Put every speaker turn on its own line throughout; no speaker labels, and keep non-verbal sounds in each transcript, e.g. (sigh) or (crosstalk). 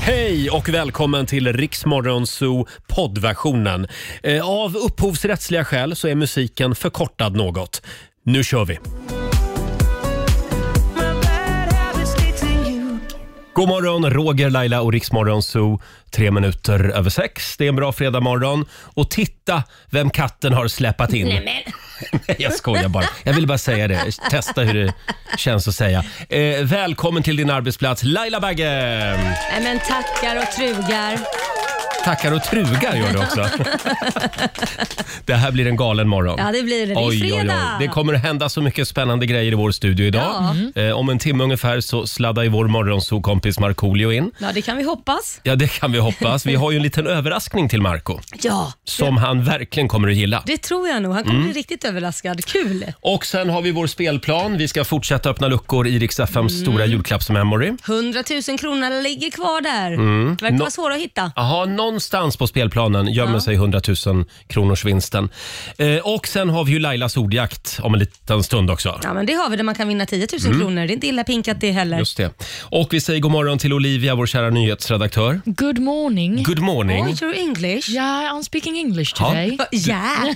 Hej och välkommen till Riksmorgon Zoo poddversionen. Eh, Av upphovsrättsliga skäl så är musiken förkortad något. Nu kör vi! God morgon, Roger, Laila och Riksmorgon Zoo. Tre minuter över sex. Det är en bra fredagmorgon. Och titta vem katten har släpat in.
Nej,
Nej, (laughs) jag skojar bara. Jag vill bara säga det. Testa hur det känns att säga. Eh, välkommen till din arbetsplats, Laila Bagge!
Nej men tackar och trugar.
Tackar och trugar gör du också. det här blir en galen morgon.
Ja, det blir det. Det är fredag.
Det kommer att hända så mycket spännande grejer i vår studio idag. Eh, om en timme ungefär så sladdar ju vår morgonsokompis Markoolio in.
(laughs) Ja, det kan vi hoppas.
Ja, det kan vi hoppas. Vi har ju en liten överraskning till Marco
Ja,
som Mm. han verkligen kommer att gilla.
det tror jag nog. Han kommer bli riktigt överraskad. Kul!
Och sen har vi vår spelplan. Vi ska fortsätta öppna luckor i Rix FMs
Mm.
stora julklappsmemory.
100 000 kronor ligger kvar där. Verkar
Mm. Nå-
vara svåra att hitta.
Jaha, någonstans på spelplanen gömmer sig 100 000 kronors vinsten. Eh, och sen har vi ju Lailas ordjakt om en liten stund också.
Ja, men det har vi där man kan vinna 10 000 kronor. Det är inte illa pinkat det heller.
Mm. Just det. Och vi säger god morgon till Olivia, vår kära nyhetsredaktör.
Good morning.
Good morning.
Oh, you're English?
Ja, I'm speaking English
Ja.
today.
Ja. (laughs) Yeah.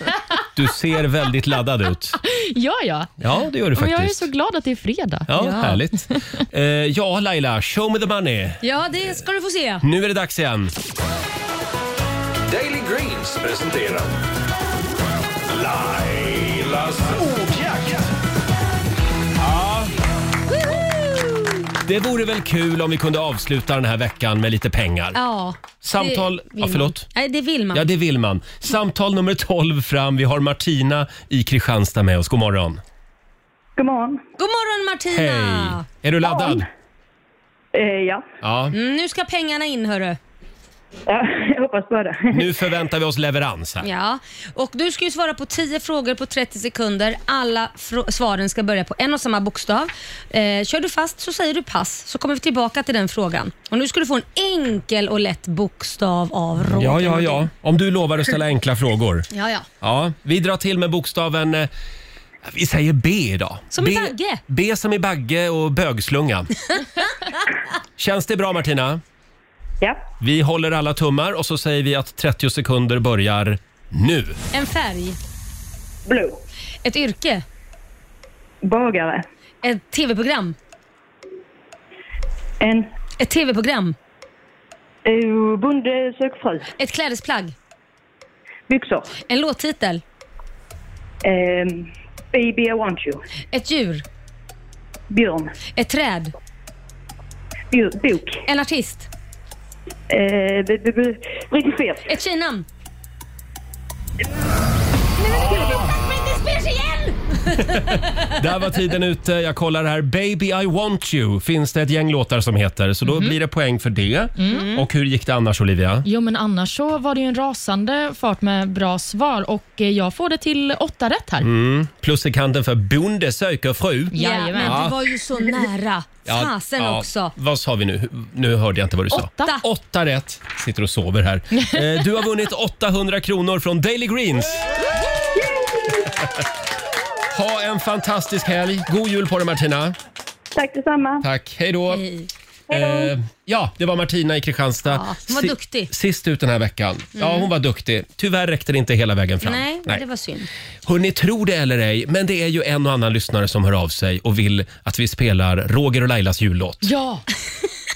Du ser väldigt laddad ut.
(laughs) Ja, ja.
Ja, det gör du
Men jag är
faktiskt.
så glad att det är fredag.
Ja,
Ja.
härligt. Eh, ja, Laila, show me the money.
ja, det ska du få se.
Nu är det dags igen.
Daily Greens presenterar Lailas ordjakt.
Det vore väl kul om vi kunde avsluta den här veckan med lite pengar.
Ja.
Samtal...
det vill
Ja, förlåt.
Man. Nej, det vill man.
Ja, det vill man. Samtal nummer 12 fram. Vi har Martina i Kristianstad med oss. God morgon.
God morgon.
God morgon
Hej!
Martina!
Är du laddad?
Eh, ja.
Ja.
Mm, nu ska pengarna in hörru.
ja, (laughs) jag hoppas på det.
Nu förväntar vi oss leverans här.
Ja, och du ska ju svara på 10 frågor på 30 sekunder. Alla fro- svaren ska börja på en och samma bokstav. Eh, kör du fast så säger du pass, så kommer vi tillbaka till den frågan. Och nu ska du få en enkel och lätt bokstav av Roger.
Ja, ja, ja. Om du lovar att ställa enkla frågor.
Ja, ja.
Ja, vi drar till med bokstaven... eh, Vi säger B idag.
Som
B,
i bagge.
B som i bagge
(laughs)
och bögslunga. Känns det bra Martina?
Ja.
Vi håller alla tummar och så säger vi att 30 sekunder börjar nu.
En färg,
Blue.
ett yrke,
Bagare.
ett tv-program,
En
ett tv-program,
eh, bonde sök fru.
ett klädesplagg,
Byxor.
en låttitel,
Eh, baby I want you.
ett djur,
Björn.
ett träd,
Bjur, bok.
en artist,
Eh, b- b- b- Rediger.
ett tjejnamn. Nej, men det spelar sig igen!
Där var tiden ute. Jag kollar här. Baby I want you finns det ett gäng låtar som heter. Så då
Mhm.
blir det poäng för det.
Mm.
Och hur gick det annars Olivia?
Jo, men annars så var det ju en rasande fart med bra svar och eh, jag får det till åtta rätt här.
Mm. Plus i kanten för Bonde söker fru.
Ja,
Jajamän.
men
Ja.
det var ju så (laughs) nära.
Ja,
Fasen
ja.
också.
Vad sa vi nu? Nu hörde jag inte vad du sa.
Åtta.
Åtta rätt. Sitter och
(laughs)
sover här. Eh, Du har vunnit 800 kronor från Daily Greens. Ha en fantastisk helg. God jul på dig Martina.
Tack detsamma.
Tack. Hej då.
Hej.
Eh, ja, det var Martina i Kristianstad.
Ja, hon var
Si-
duktig. Mm.
Sist ut den här veckan. Ja, hon var duktig. Tyvärr räckte det inte hela vägen fram.
Nej, det var synd.
Hörrni, tro det eller ej, men det är ju en och annan lyssnare som hör av sig och vill att vi spelar Roger och Lailas jullåt.
Ja.
(laughs)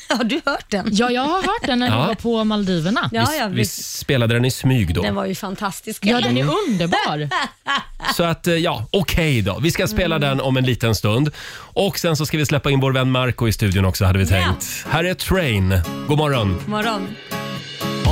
Har du hört den?
ja, jag har hört den när
Ja.
jag var på Maldiverna. Ja,
Ja,
vi,
ja,
vi
visst.
spelade den i smyg då.
Den var ju fantastisk.
den är
(laughs)
underbar.
Så att, eh, ja, okej då. Vi ska spela
Mm.
den om en liten stund. Och sen så ska vi släppa in vår vän Marco i studion också, hade vi
Ja.
tänkt. Här är Train. God morgon.
Morgon.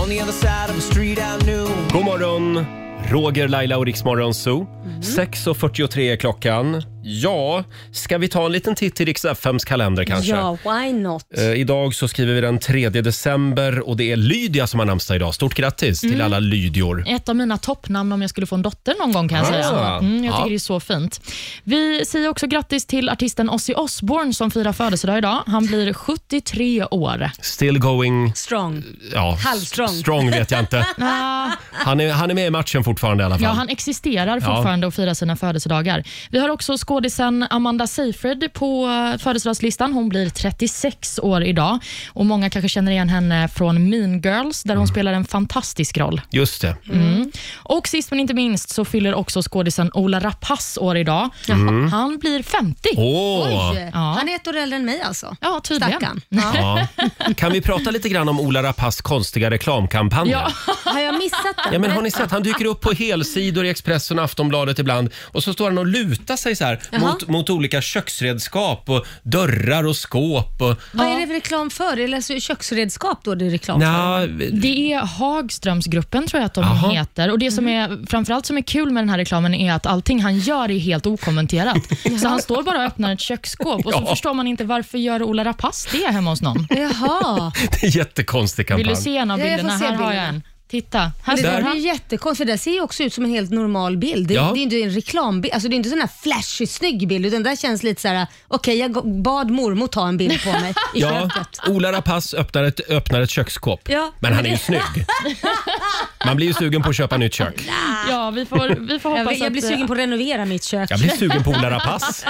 On the other side of the street I knew
God morgon, Roger, Laila och Riksmorgon Zoo.
Mm.
6.43 är klockan. Ja, ska vi ta en liten titt i Rix FMs kalender kanske?
Ja, why not?
Eh, Idag så skriver vi den 3 december och det är Lydia som har namnsdag idag. Stort grattis
Mm.
till alla Lydior.
Ett av mina toppnamn om jag skulle få en dotter någon gång kan jag
Ah.
säga. Mm, jag
Ja.
tycker det är så fint. Vi säger också grattis till artisten Ozzy Osbourne som firar födelsedag idag. Han blir 73 år.
Still going...
Strong.
Ja,
Halvstrong.
strong vet
(laughs)
(laughs)
jag inte.
Ah.
Han är, han är med i matchen fortfarande i alla fall.
Ja, han existerar fortfarande och firar sina födelsedagar. Vi har också skådisen Amanda Seyfried på eh, födelsedagslistan. Hon blir 36 år idag. Och Många kanske känner igen henne från Mean Girls, där hon
Mm.
spelar en fantastisk roll.
Just det.
Mm.
Mm. Och Sist men inte minst så fyller också skådisen Ola Rapace år idag. Han blir 50.
Mm. Åh!
Oj, Han är ett år äldre än mig alltså.
Ja, tydligen.
Stackarn. Ja. (laughs)
Ja. Kan vi prata lite grann om Ola Rapaces konstiga reklamkampanjer?
Ja.
Har jag missat den?
Ja, men har ni sett? Han dyker upp på helsidor i Expressen och Aftonbladet ibland och så står han och lutar sig så här
Jaha.
mot, mot olika köksredskap och dörrar och skåp. Och,
Vad är det för reklam för? Eller alltså, köksredskap då det är reklam för?
Nja,
Det är Hagströmsgruppen tror jag att de
Jaha.
heter. Och Det som
Mm.
är framförallt som är kul med den här reklamen är att allting han gör är
(laughs)
helt okommenterat. så han står bara och öppnar ett köksskåp och så
Ja.
förstår man inte varför gör Ola Rapace det hemma hos någon.
Jaha.
det är en jättekonstig
Vill du
kampanj.
se en av
Ja, jag får
bilderna?
se
Här har
bilderna.
jag en. Titta, här
Det
står
är ju
han.
jättekonstigt, för det ser ju också ut som en helt normal bild. Det,
Ja.
det är inte en reklambild, alltså det är inte sån här flashig snygg bild utan det där känns lite så här: okej jag g- bad mormor ta en bild på mig i
(laughs) Ja,
köket.
Ola Rapace öppnar ett, öppnar ett köksskåp.
Ja.
Men han är ju
(laughs)
snygg. Man blir ju sugen på att köpa nytt kök.
Ja, vi får, vi
Jag,
får hoppas
jag blir
att... eh,
sugen på att renovera mitt kök.
Jag blir sugen på Ola Rapace.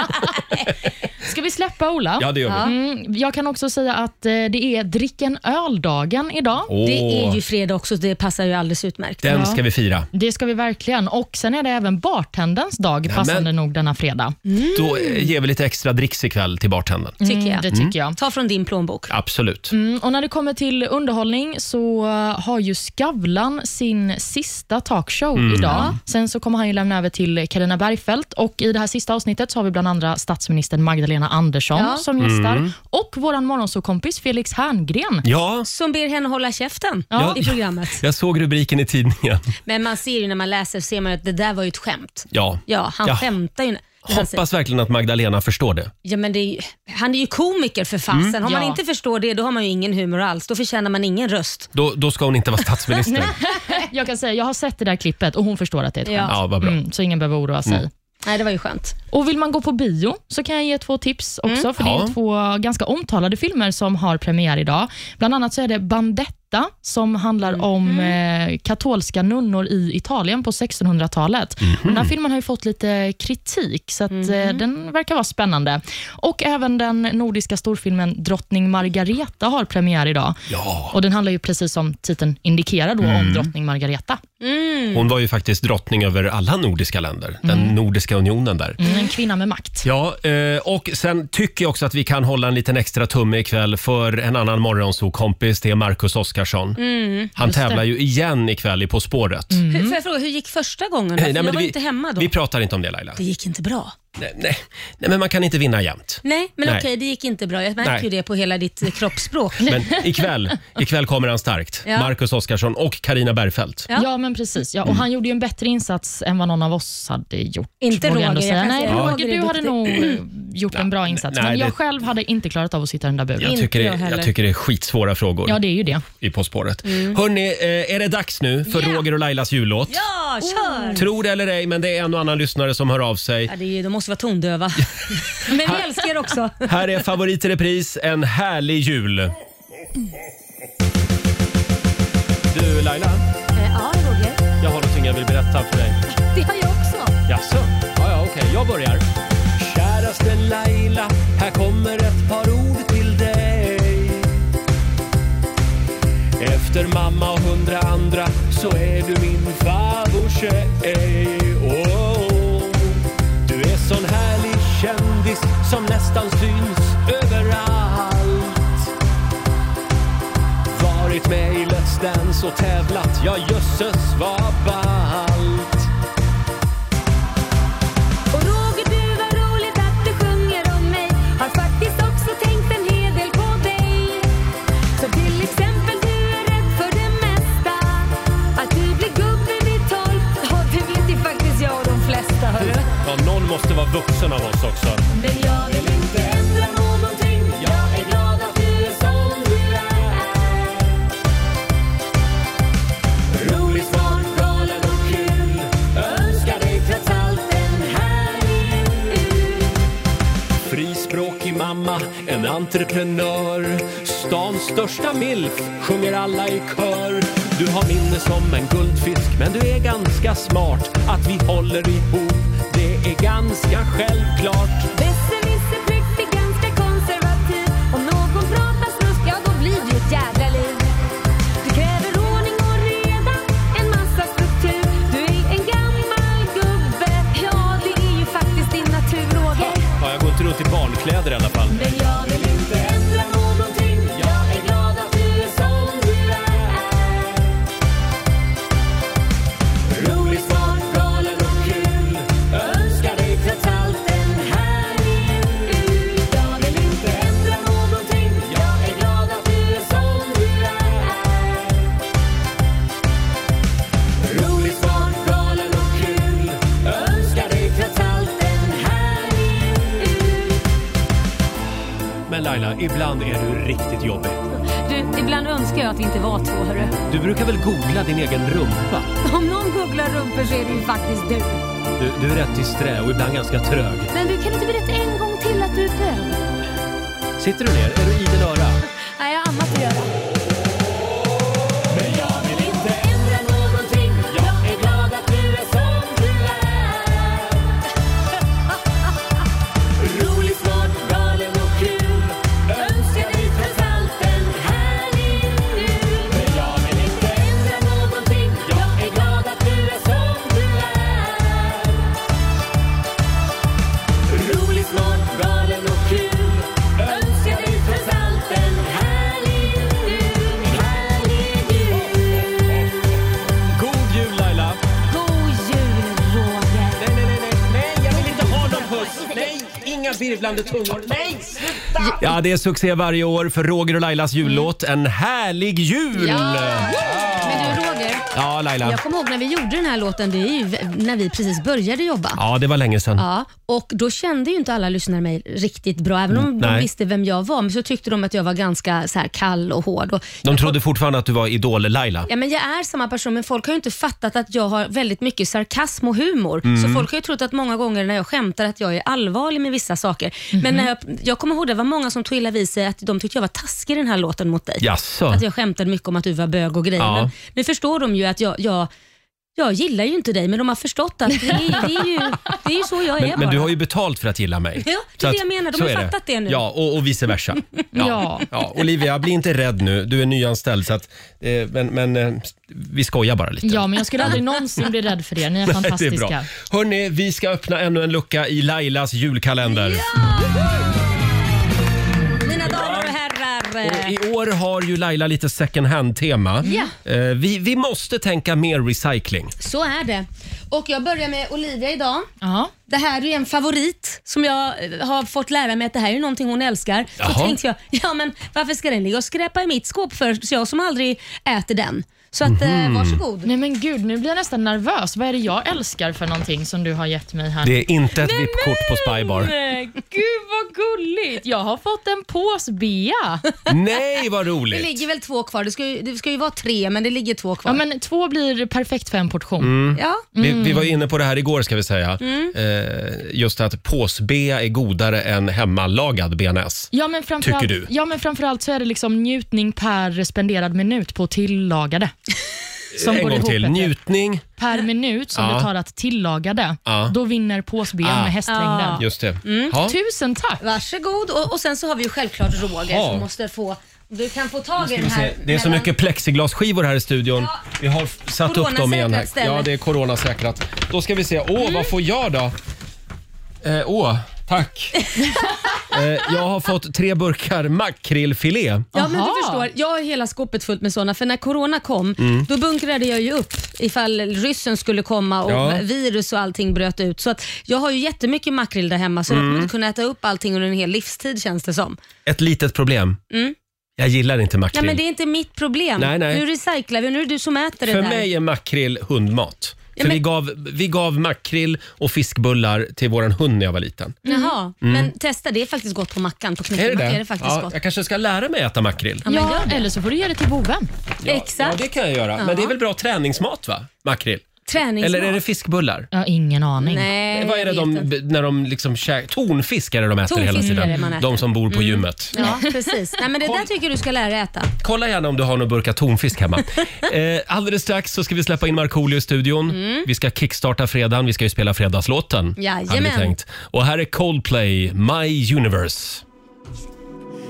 Ska vi släppa Ola?
Ja, det gör vi.
Mm, jag kan också säga att eh, det är drick en öl-dagen idag.
Det är
Åh,
ju fredag också så det passar ju alldeles utmärkt.
den ska vi fira.
Det ska vi verkligen. Och Sen är det även bartendens dag, passande nog denna fredag. Mm,
Då Mm. eh, ger vi lite extra dricks ikväll till bartendern.
Mm. Tycker jag.
Det tycker jag.
Ta från din plånbok.
Absolut.
Mm, Och När det kommer till underhållning så eh, har ju Skavlan sin sista talkshow idag. Sen så kommer han ju lämna över till Carina Bergfeldt och i det här sista avsnittet så har vi bland andra statsministern Magdalena Andersson
Ja.
som gästar och vår morgonsåkompis Felix Herngren.
Ja,
Som ber henne hålla käften
Ja.
i programmet.
jag såg rubriken i tidningen.
Men man ser ju när man läser ser man ju att det där var ju ett skämt.
Ja.
Ja, han
Jag
skämtar ju. när- när han säger-
Hoppas verkligen att Magdalena förstår det.
Ja, men det är, ju- han är ju komiker för fasen.
Mm.
Har man
Ja.
inte förstår det, då har man ju ingen humor alls. Då förtjänar man ingen röst.
Då, då ska hon inte
(laughs)
vara statsminister.
(laughs) Jag kan säga, jag har sett det där klippet och hon förstår att det är ett
Ja.
skämt.
Ja, vad bra.
Mm, så ingen behöver oroa sig.
Nej, det var ju skönt. Mm.
Och Vill man gå på bio så kan jag ge två tips också. För Det
Ja.
är två ganska omtalade filmer som har premiär idag. Bland annat så är det Bandetta som handlar
Mm.
om eh, katolska nunnor i Italien på 1600-talet.
Mhm.
Och Den här filmen har ju fått lite kritik, så att,
Mhm.
eh, den verkar vara spännande. Och Även den nordiska storfilmen Drottning Margareta har premiär idag.
Ja. Mm.
Och Den handlar ju precis som titeln indikerar då om drottning Margareta.
Mm.
Hon var ju faktiskt drottning över alla nordiska länder. Den nordiska unionen där.
Mm. En kvinna med makt.
Ja, eh, och sen tycker jag också att vi kan hålla en liten extra tumme ikväll för en annan morgonsokompis, det är Marcus Oskarsson.
Mm,
Han tävlar ju igen ikväll i På spåret.
Hur,
Mm.
får jag fråga, hur gick första gången? då?
Nej,
Mm. jag
men
var
vi,
inte hemma då.
Vi pratar inte om det Laila.
det gick inte bra.
Nej, nej, nej, men man kan inte vinna jämt.
Nej, men
Nej.
okej, det gick inte bra. Jag
Nej.
märker ju det på hela ditt eh, kroppsspråk.
Men
(laughs)
ikväll, ikväll kommer han starkt.
Ja.
Marcus Oskarsson och Karina Bergfeldt.
Ja.
Ja. men precis.
Mm.
Ja, och Han gjorde ju en bättre insats än vad någon av oss hade gjort.
Inte
vågar jag ändå
Roger,
säga.
jag kan
Nej,
säga.
Roger,
Roger
du
är
hade
duktig.
nog eh, gjort en bra insats.
nej,
men jag
det-
själv hade inte klarat av att sitta i den där buren.
Jag
Inte
tycker,
jag
det,
heller. Mm.
jag tycker det är skitsvåra frågor
Ja, det är ju det. Mm.
i På spåret. Hörni, är det dags nu för Roger och Lailas jullåt?
Ja, kör!
Oh. Tror det eller ej, men det är en och annan lyssnare som hör av sig.
Ja, det är, ju- de måste vara
(laughs)
tondöva. men vi älskar er också.
Här är favorit i repris, en härlig jul. Du Laila,
ja, Roger.
jag har någonting jag vill berätta för dig.
Det har jag också.
Jaså? Ja, ja, okej, jag börjar. Käraste Laila, här kommer ett par ord till dig. Efter mamma och hundra andra så är du min favorittjej. Oh, du är sån härlig kändis som nästan syns överallt. Varit med i Let's Dance och tävlat, ja jösses vad ballt.
Och Roger, du var roligt att du sjunger om mig. Har faktiskt också tänkt en hel del på dig. Så till exempel, du är rädd för det mesta. Att du blir gubbe vid tolv. Ja, det vet ju faktiskt jag och de flesta, hörru.
Ja, någon måste vara vuxen av oss också.
Men jag vill inte ändra någonting. Jag är glad att du är som du är. Rolig, smart,
entreprenör. Stans största milf sjunger alla i kör. Du har minne som en guldfisk men du är ganska smart. Att vi håller ihop, det är ganska självklart.
Besserwisser präktig, ganska konservativ. Om någon pratar snusk, ja då blir det ett jädra liv. Du kräver ordning och reda, en massa struktur. Du är en gammal gubbe, ja det är ju faktiskt din natur, Roger.
Ja, jag går inte runt i barnkläder i alla fall.
Men jag vill inte ändra någonting. Jag är glad att du är som du är. Rolig, smart, galen och kul. Önskar dig trots allt en härlig jul. Jag vill inte ändra någonting. Jag är glad att du är som du är. Rolig, smart, galen och kul. Önskar dig trots allt en härlig jul.
Men Laila, ibland är du riktigt jobbig.
Du, ibland önskar jag att vi inte var två, hörru.
Du brukar väl googla din egen rumpa?
Om någon googlar rumpor så är det ju faktiskt du.
Du, du är rätt disträ och ibland ganska trög.
Men du, kan inte berätta en gång till att du är bög?
Sitter du ner? Är du idel öra?
Nej, jag har annat att göra. Rolig, smart, galen och kul. Önskar dig trots allt en härlig jul, härlig jul.
God jul Laila!
God jul, Roger.
Nej, nej, nej, nej, nej, jag vill inte ha någon puss! Nej, inga virvlande tungor! Nej, sluta! Ja, det är succé varje år för Roger och Lailas jullåt. En härlig jul!
Men du Roger,
Ja, Laila.
jag kommer ihåg när vi gjorde den här låten, det är ju när vi precis började jobba.
Ja, det var länge sedan.
Ja, och då kände ju inte alla lyssnare mig riktigt bra, även om de
Mm, nej.
visste vem jag var. Men så tyckte de att jag var ganska så här kall och hård. Och
De trodde fortfarande att du var Idol-Laila.
Ja, men jag är samma person, men folk har ju inte fattat att jag har väldigt mycket sarkasm och humor. Så
Mm.
folk har ju trott att många gånger när jag skämtar att jag är allvarlig med vissa saker.
Mm.
Men när jag, jag kommer ihåg det var många som tog illa vid sig att de tyckte jag var taskig i den här låten mot dig.
Jaså?
Att jag skämtade mycket om att du var bög och grejer.
Ja.
Men nu förstår de ju att jag, jag jag gillar ju inte dig, men de har förstått att det är, det är, ju, det är ju så jag är
Men, men
bara.
du har ju betalt för att gilla mig.
Ja, det är
Så
det
att-
jag menar. De
så
har
är
fattat det nu.
Ja, och, och vice
(laughs)
versa. Ja.
Ja.
Ja, Olivia, bli inte rädd nu. Du är nyanställd, så att, eh, men, men eh, vi skojar bara lite.
Ja, men jag skulle aldrig någonsin bli rädd för er. Ni är
(laughs) Nej, det är bra.
fantastiska.
Hörni, vi ska öppna ännu en lucka i Lailas julkalender.
Mina damer och herrar.
Och I år har ju Laila lite second hand-tema.
Ja.
Eh, Vi, vi måste tänka mer recycling.
Så är det. Och jag börjar med Olivia idag.
Ja.
Det här är ju en favorit som jag eh, har fått lära mig att det här är någonting hon älskar. Så
Jaha.
tänkte jag, ja men varför ska den ligga och skräpa i mitt skåp för? Så jag som aldrig äter den. Så att
Mhm.
Mm.
eh, varsågod.
Nej men gud, nu blir jag nästan nervös. Vad är det jag älskar för någonting som du har gett mig här?
Det är inte ett VIP-kort på Spybar.
Nej, Gud vad gulligt! Jag har fått en pås bea.
Nej, vad
Det
roligt!
ligger väl två kvar. Det ska ju, det ska ju vara tre men det ligger två kvar.
Ja, men två blir perfekt för en portion.
Ja.
Mm. Vi, vi var inne på det här igår ska vi säga. Eh, just att påsbea är godare än hemmalagad BNS.
Ja, men framförallt,
Tycker du?
Ja, men framförallt så är det liksom njutning per spenderad minut på tillagade. Som
en
går
gång
ihop
till.
bättre.
Njutning.
Per minut som
Ja.
du tar att tillagade,
Ja.
då vinner påsben
Ah.
med hästlängden.
Just det. Ja.
Tusen tack!
Varsågod. Och, och sen så har vi ju självklart Roger
Jaha.
som måste få, du kan få tag i den
Vi
här.
ser, Det är så
mellan-
mycket plexiglasskivor här i studion.
Ja.
Vi har f- satt upp dem igen. Här.
Coronasäkrat Mm. ställe.
Ja, det är coronasäkrat. Då ska vi se. Åh, vad får jag då? Eh, åh,
(laughs)
tack. eh, jag har fått tre burkar makrillfilé.
Ja, men
Aha.
du förstår. Jag har hela skåpet fullt med såna. För när corona kom,
Mm.
då bunkrade jag ju upp ifall ryssen skulle komma och
Ja.
virus och allting bröt ut. Så att jag har ju jättemycket makrill där hemma, så
Mm.
jag kommer inte kunna äta upp allting under en hel livstid känns det som.
Ett litet problem. Jag gillar inte makrill.
Mm. Nej, men det är inte mitt problem.
Nej, nej.
Nu recyclar vi, nu är det du som äter det
För
där.
mig är makrill hundmat. För
men-
vi, gav, vi gav makrill och fiskbullar till våran hund när jag var liten.
Jaha, men testa. Det är faktiskt gott på mackan. På
Mm. Är det
knäckemacka är
det?
Mm. det faktiskt
ja,
gott.
jag kanske ska lära mig äta makrill.
men
Ja,
gör det.
eller så får du ge det till boven.
Ja,
Exakt.
Ja, det kan jag göra. Men det är väl bra träningsmat va? Makrill?
Träningsmat?
Eller är det fiskbullar?
Jag har ingen aning.
Nej,
Vad är det
jag vet
de,
inte.
b- när de liksom käkar? Tonfisk är det de äter hela
Tonfisk är det
tiden.
man äter. Mm.
De som bor på gymmet.
Ja, precis. Nej, men det där tycker jag du ska lära dig äta.
Kolla gärna om du har någon burka tonfisk
(laughs)
hemma. eh, alldeles strax så ska vi släppa in Markoolio i studion.
Mm.
Vi ska kickstarta fredagen. Vi ska ju spela fredagslåten.
Jajamän.
hade vi tänkt. Och här är Coldplay, My Universe.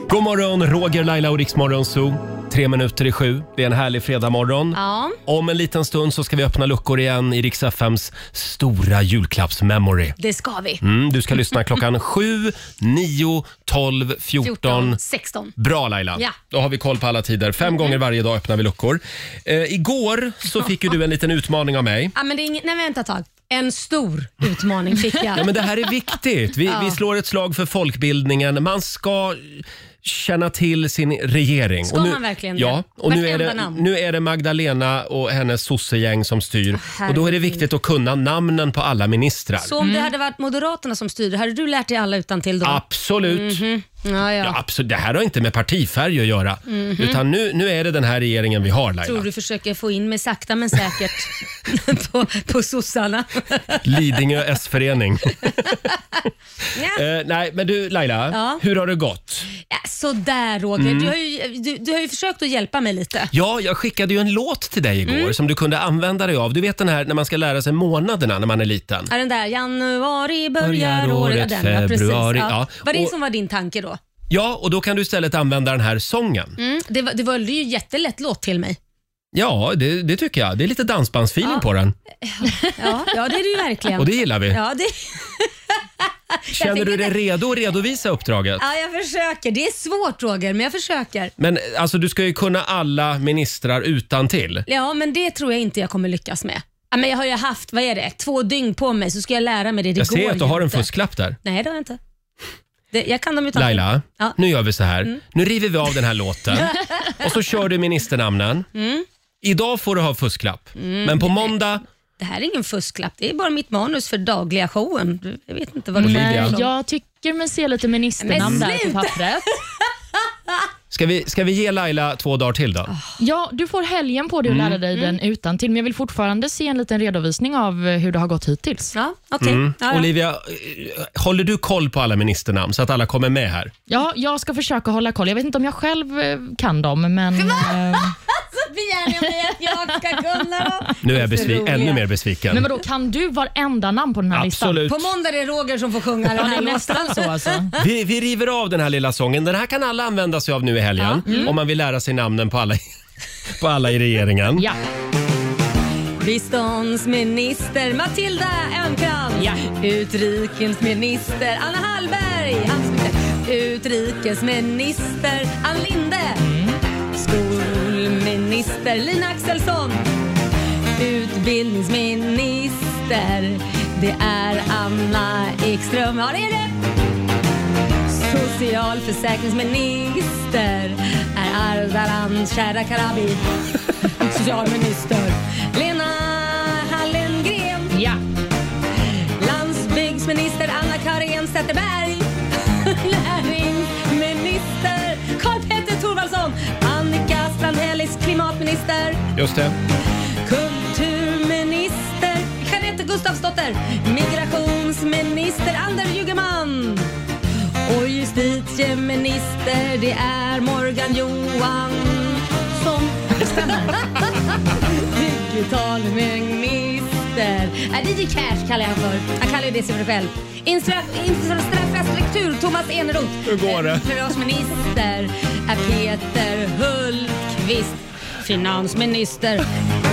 God morgon, Roger, Laila och Riksmorgon Zoo. Tre minuter i sju. Det är en härlig fredagmorgon.
Ja.
Om en liten stund så ska vi öppna luckor igen i Rix FMs stora julklappsmemory.
Det ska vi.
Mm, du ska lyssna klockan 7, 9, 12, 14.
14, 16.
Bra Laila,
Ja. Mm.
då har vi koll på alla tider. Fem gånger varje dag öppnar vi luckor. Eh, igår så fick ju du en liten utmaning av mig.
Ja, Ah, men det är ingen, nej, vänta ett tag. En stor utmaning fick jag.
(laughs) Ja, men det här är viktigt. Vi, vi slår ett slag för folkbildningen. Man ska känna till sin regering.
Ska man verkligen det?
Ja, och nu är,
Vartenda
det,
namn.
nu är det Magdalena och hennes sossegäng som styr.
Åh,
och då är det
herregud.
viktigt att kunna namnen på alla ministrar.
Så om det hade varit Moderaterna som styrde, hade du lärt dig alla utan till då? Mhm.
Absolut.
ja, ja.
Ja, absolut. Det här har inte med partifärg att göra.
Mhm.
Utan nu, nu är det den här regeringen vi har Laila.
Tror du försöker få in mig sakta men säkert (laughs) på, på sossarna?
Lidingö (laughs) S-förening.
ja.
Eh, nej, men du Laila,
Ja.
hur har det gått?
Ja, sådär Roger,
Mm.
du, har ju, du, du har ju försökt att hjälpa mig lite.
Ja, jag skickade ju en låt till dig igår som du kunde använda dig av. Du vet den här när man ska lära sig månaderna när man är liten.
Ja, den där januari
Börjar
börjar året.
året,
Ja, den, ja, precis.
februari, ja.
Ja. Var det
Och-
som var din tanke då?
Ja, och då kan du istället använda den här sången.
Mm, det, var, det var ju jättelätt låt till
(laughs)
mig.
Ja, det, det tycker jag. Det är lite dansbandsfeeling på den
Ja, ja det är det ju verkligen.
och det gillar vi.
ja, det, (laughs)
Känner du dig redo att redovisa uppdraget?
ja, jag försöker. Det är svårt Roger, men jag försöker.
Men alltså, du ska ju kunna alla ministrar utan till.
Ja, men det tror jag inte jag kommer lyckas med. Ja, men jag har ju haft, vad är det, två dygn på mig så ska jag lära mig det. det
Jag
går
ser att du
ju
har en
inte.
fusklapp där.
Nej, det har jag inte. Det, jag kan dem utan
Laila,
Ja. Mm.
nu gör vi så här. Nu river vi av den
(laughs)
här låten och så kör du ministernamnen.
Mm.
Idag får du ha fusklapp, men på måndag...
Det här är ingen fusklapp. Det är bara mitt manus för dagliga showen. Du- Jag vet inte vad du
Olivia.
pratar
Nej,
om.
jag tycker man ser lite ministernamn
Men
där på
sluta!
pappret.
Ska vi, ska vi ge Laila två dagar till
Ah,
då?
Ja, du får helgen på
Mm.
dig att lära dig
Mm.
den utan till. men jag vill fortfarande se en liten redovisning av eh, hur det har gått hittills.
Ja, okej. Ja, ja.
Mm. Olivia, eh, håller du koll på alla ministernamn så att alla kommer med här?
Ja, jag ska försöka hålla koll. Jag vet inte om jag själv eh, kan dem, men... eh,
(laughs) Så begär ni mig att jag ska kunna dem.
Nu är jag
Det är så
besvi-
roliga.
ännu mer besviken.
Men vadå, kan du varenda namn på den här listan?
Absolut.
På måndag är det Roger som får sjunga
Ja,
den
det
här
är
låten.
nästan så
(laughs)
alltså.
Vi, vi river av den här lilla sången. Den här kan alla använda sig av nu i helgen
mm.
om man vill lära sig namnen på alla, på alla i (laughs) regeringen.
Ja.
Biståndsminister Matilda Ernkrans.
Ja.
Utrikesminister Anna Hallberg. Hans- Utrikesminister Ann Linde. Skolminister Lina Axelsson. Utbildningsminister, det är Anna Ekström. Ja, det är det! Socialförsäkringsminister är Ardalan Shadakarabi. Socialminister Lena Hallengren.
ja.
Landsbygdsminister Anna-Karin Zetterberg. (laughs) Näringsminister Karl-Petter Thorwaldsson. Annika Strandhällis klimatminister.
Just det.
Kulturminister Jeanette Gustafsdotter. Migrationsminister Anders Ygeman. Och justitieminister, det är Morgan Johansson. Digitalminister. Äh, DJ Cash kallar jag han för. Han kallar ju det sig för själv. Instra- Infrastruktur, Thomas Eneroth.
Hur går det?
Eh, Försvarsminister är Peter Hultqvist. Finansminister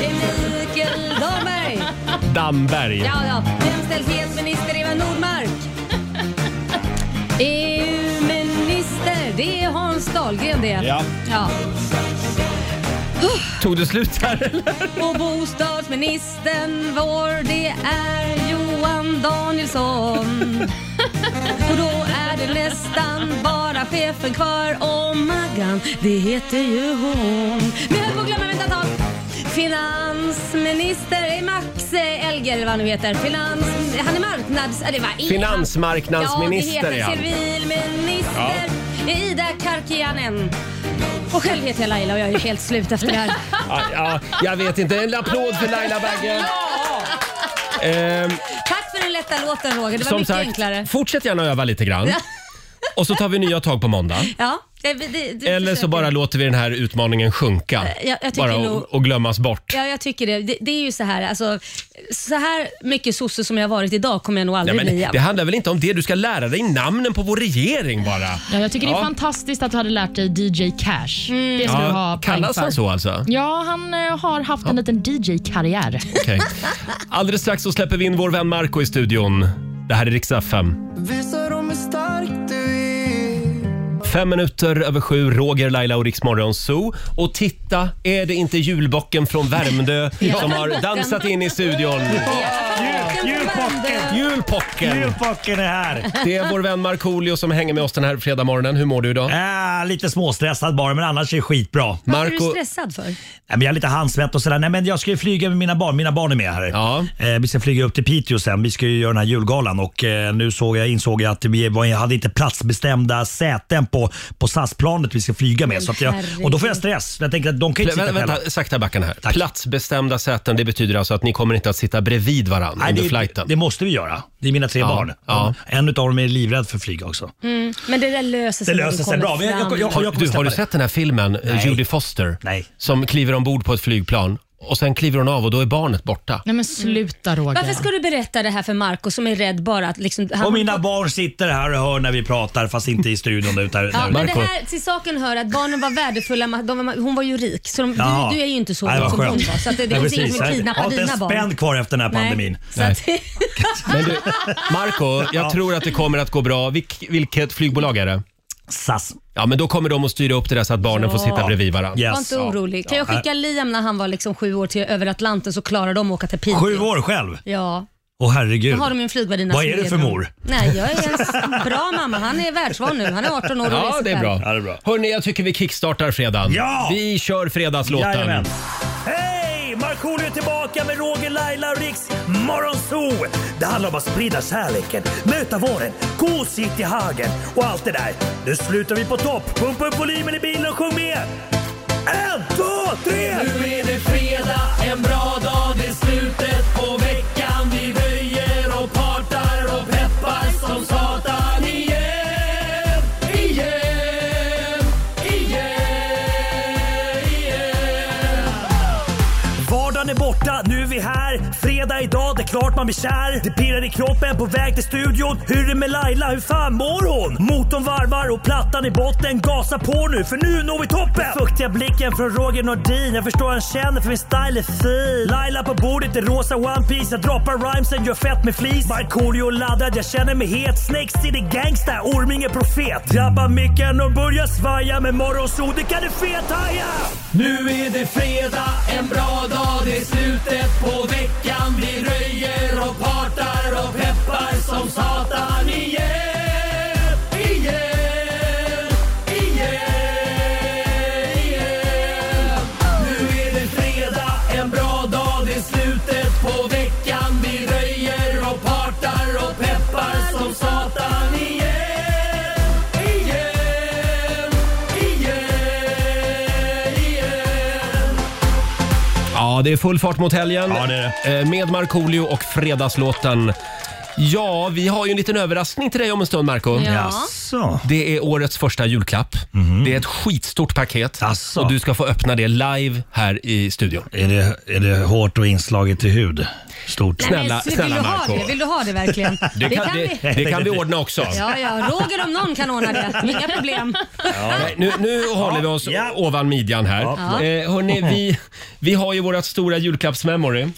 är Mikael Damberg.
Damberg.
Ja, ja. Jämställdhetsminister Eva Nordmark. (laughs) EU-minister, det är Hans Dahlgren det.
Ja.
ja.
Tog det slut här eller?
(laughs) Och bostadsministern vår, det är Johan Danielsson. Och då är det nästan bara chefen kvar och Maggan, det heter ju hon. Men jag höll på att glömma, vänta ett tag. Finansminister är Max Elger, eller vad han nu heter. Finans, han är marknads... äh, Det var Ida.
Finansmarknadsminister
Ja, det
är
heter
han.
civilminister. Det är Ida Karkiainen. Och själv heter
(laughs)
jag Laila och jag är helt slut efter det här. (laughs)
Ja, ja, jag vet inte. En applåd för Laila Bagge.
Ja!
Ehm,
Tack för den lätta låten Roger, det var
som
mycket
sagt,
enklare.
fortsätt gärna öva lite grann. Och så tar vi nya tag på måndag.
Ja, det, det, du
Eller
försöker. Eh,
så bara låter vi den här utmaningen sjunka.
jag- jag tycker
bara och,
nog-
och glömmas bort.
Ja, jag tycker det. det. Det är ju så här, alltså, så här mycket sosse som jag har varit idag kommer jag nog aldrig
Nej, men
bli.
det handlar väl inte om det? Du ska lära dig namnen på vår regering bara.
Ja, jag tycker det
Ja.
är fantastiskt att du hade lärt dig DJ Cash.
Mm.
Det ska du ha
Ja,
poäng
kallas
för.
han så alltså?
Ja, han eh, har haft en liten
(laughs)
DJ-karriär.
Okej. Alldeles strax så släpper vi in vår vän Marco i studion. Det här är riksdag 5.
Visa dem hur stark du är.
Fem minuter över sju, Roger, Laila och Riksmorgon Zoo. Och titta, är det inte julbocken från Värmdö som har dansat in i studion?
Julpocken!
Julpocken!
Julpocken är här!
Det är vår vän Markoolio som hänger med oss den här fredagmorgonen. Hur mår du idag?
Äh, lite småstressad bara, men annars är det skitbra. Nej,
Varför är du
Marco,
stressad för?
men jag är lite handsvett och sådär. Nej, men jag ska ju flyga med mina barn. Mina barn är med här.
Ja.
Eh, vi ska flyga upp till Piteå sen. Vi ska ju göra den här julgalan och eh, nu såg jag, insåg jag att vi var, jag hade inte platsbestämda säten på, på SAS-planet vi ska flyga med. Så att jag, och då får jag stress. Jag tänker att de kan ju inte
vänta,
sitta själva.
vänta, sakta backen här.
Tack.
Platsbestämda säten, det betyder alltså att ni kommer inte att sitta bredvid varandra
Nej,
under
det,
flighten?
det måste vi göra. Det är mina tre
Ja,
barn.
ja.
En av dem är livrädd för flyg också.
Mm, Men det där löser sig
Det
när
löser
du
sig
kommer
bra. Jag, jag, jag,
fram.
jag, kommer
du, har
släppa
du
det.
sett den här filmen, eh,
Nej.
Judy Foster?
Nej.
Som kliver ombord på ett flygplan och sen kliver hon av och då är barnet borta.
Nej men sluta Roger.
Varför ska du berätta det här för Marco som är rädd bara att liksom... Han,
Och mina barn sitter här och hör när vi pratar fast inte i studion. Utan,
Ja, men
Marco.
det här, till saken hör att barnen var värdefulla. ma- De var, hon var ju rik, så de,
Jaha.
du, du är ju inte så
Nej,
rik
vad
som hon
skönt.
var. Så att det, det
Nej,
finns
precis.
ingen som
Jag- Jag
kidnappar
har inte
dina
en
barn.
spänn kvar efter den här pandemin.
Så att,
Men du, Marco, jag tror att det kommer att gå bra. Vilk, vilket flygbolag är det?
SAS.
Ja, men då kommer de att styra upp det där så att barnen får sitta bredvid varandra.
var
Yes.
inte orolig. Kan jag skicka Liam när han var liksom sju år till över Atlanten så klarar de att åka till Piteå.
Sju år själv?
Ja.
Åh herregud.
Då har de ju en flygvärdinna
Vad
som
är det för
bra.
mor?
Nej, jag är en bra mamma. Han är världsvan nu. Han är 18 år och
Ja,
reser
det är
själv.
bra.
Ja, det är bra.
Hörni, jag tycker vi kickstartar fredagen.
Ja!
Vi kör fredagslåten.
Jajamän. Hej! Markoolio är tillbaka med Roger, Laila och Riks Morgonzoo. Det handlar om att sprida kärleken, möta våren, gosigt i hagen och allt det där. Nu slutar vi på topp. Pumpa upp volymen i bilen och sjung med. En, två, tre! Nu är det fredag, en bra dag. Det är slutet på veckan. Vi röjer och partar och peppar som satan igen. Igen, igen, igen. Vardagen är borta, nu är vi här. Fredag idag, det är klart man blir kär. Det pirrar i kroppen på väg till studion. Hur är det med Laila, hur fan mår hon? Motorn varvar och plattan i botten. Gasa på nu, för nu når vi toppen! Den fuktiga blicken från Roger Nordin. Jag förstår han känner för min style är fin. Laila på bordet i rosa One Piece Jag droppar rhymesen, gör fett med flis. Markoolio laddad, jag känner mig het. Snakes city gangsta, Orminge profet. Drabbar micken och börjar svaja. Med morgonsol, det kan du fethaja! Nu är det fredag, en bra dag. Det är slutet på veckan. Vi röjer och partar och peppar som satan igen. Igen, igen, igen. Nu är det fredag, en bra dag. Det är slutet på veckan. Vi röjer och partar och peppar som satan igen. Igen, igen, igen.
Ja, det är full fart mot helgen.
Ja, det är
Eh, Med Markoolio och fredagslåten. Ja, vi har ju en liten överraskning till dig om en stund, Marco.
Ja.
Jaså? Mhm.
Det är årets första julklapp. Det är ett skitstort paket
Asså.
och du ska få öppna det live här i studion.
Är det, är det hårt och inslaget i hud? Stort.
Nej, men,
Snälla-
vill
snälla,
du ha
Marco.
det? Vill du ha det
(laughs)
verkligen?
Det kan,
vi.
det, det
(laughs)
kan vi ordna också.
Ja, ja. Roger om någon kan ordna det. Inga problem.
Nej, nu, nu håller vi oss
Ja.
ovan midjan här.
Ja.
Eh, hörni, vi, vi har ju vårt stora julklappsmemory.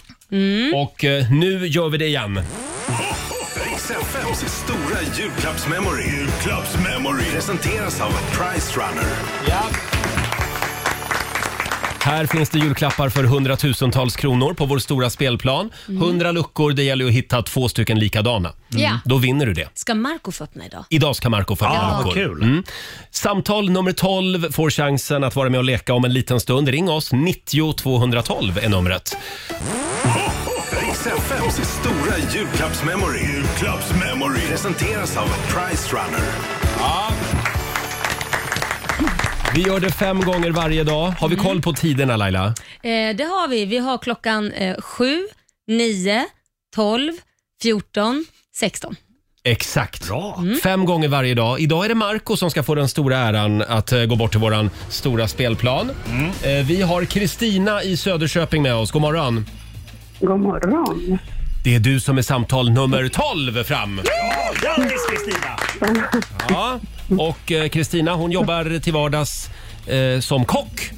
Och eh, nu gör vi det igen.
Riks FMs stora julklappsmemory. Julklappsmemory. Presenteras av Price Runner.
Här finns det julklappar för hundratusentals kronor på vår stora spelplan. Hundra luckor, det gäller ju att hitta två stycken likadana.
Ja.
Då vinner du det.
Ska Marco få öppna idag?
Idag ska Marco få öppna
Ja, vad
luckor. Mm.
kul.
Samtal nummer 12 får chansen att vara med och leka om en liten stund. Ring oss, 90 212 är numret.
Riks FMs stora julklappsmemory. Julklappsmemory. Presenteras av Price Runner.
Vi gör det fem gånger varje dag. Har
Mm.
vi koll på tiderna Laila?
Eh, det har vi. Vi har klockan eh, sju, nio, 12, 14, 16.
Exakt. Mm. Fem gånger varje dag. Idag är det Marco som ska få den stora äran att eh, gå bort till våran stora spelplan.
Mm.
Eh, vi har Kristina i Söderköping med oss. God morgon.
God morgon.
Det är du som är samtal nummer 12 fram.
Grattis Kristina!
(laughs) Ja. Och eh, Kristina hon jobbar till vardags eh, som kock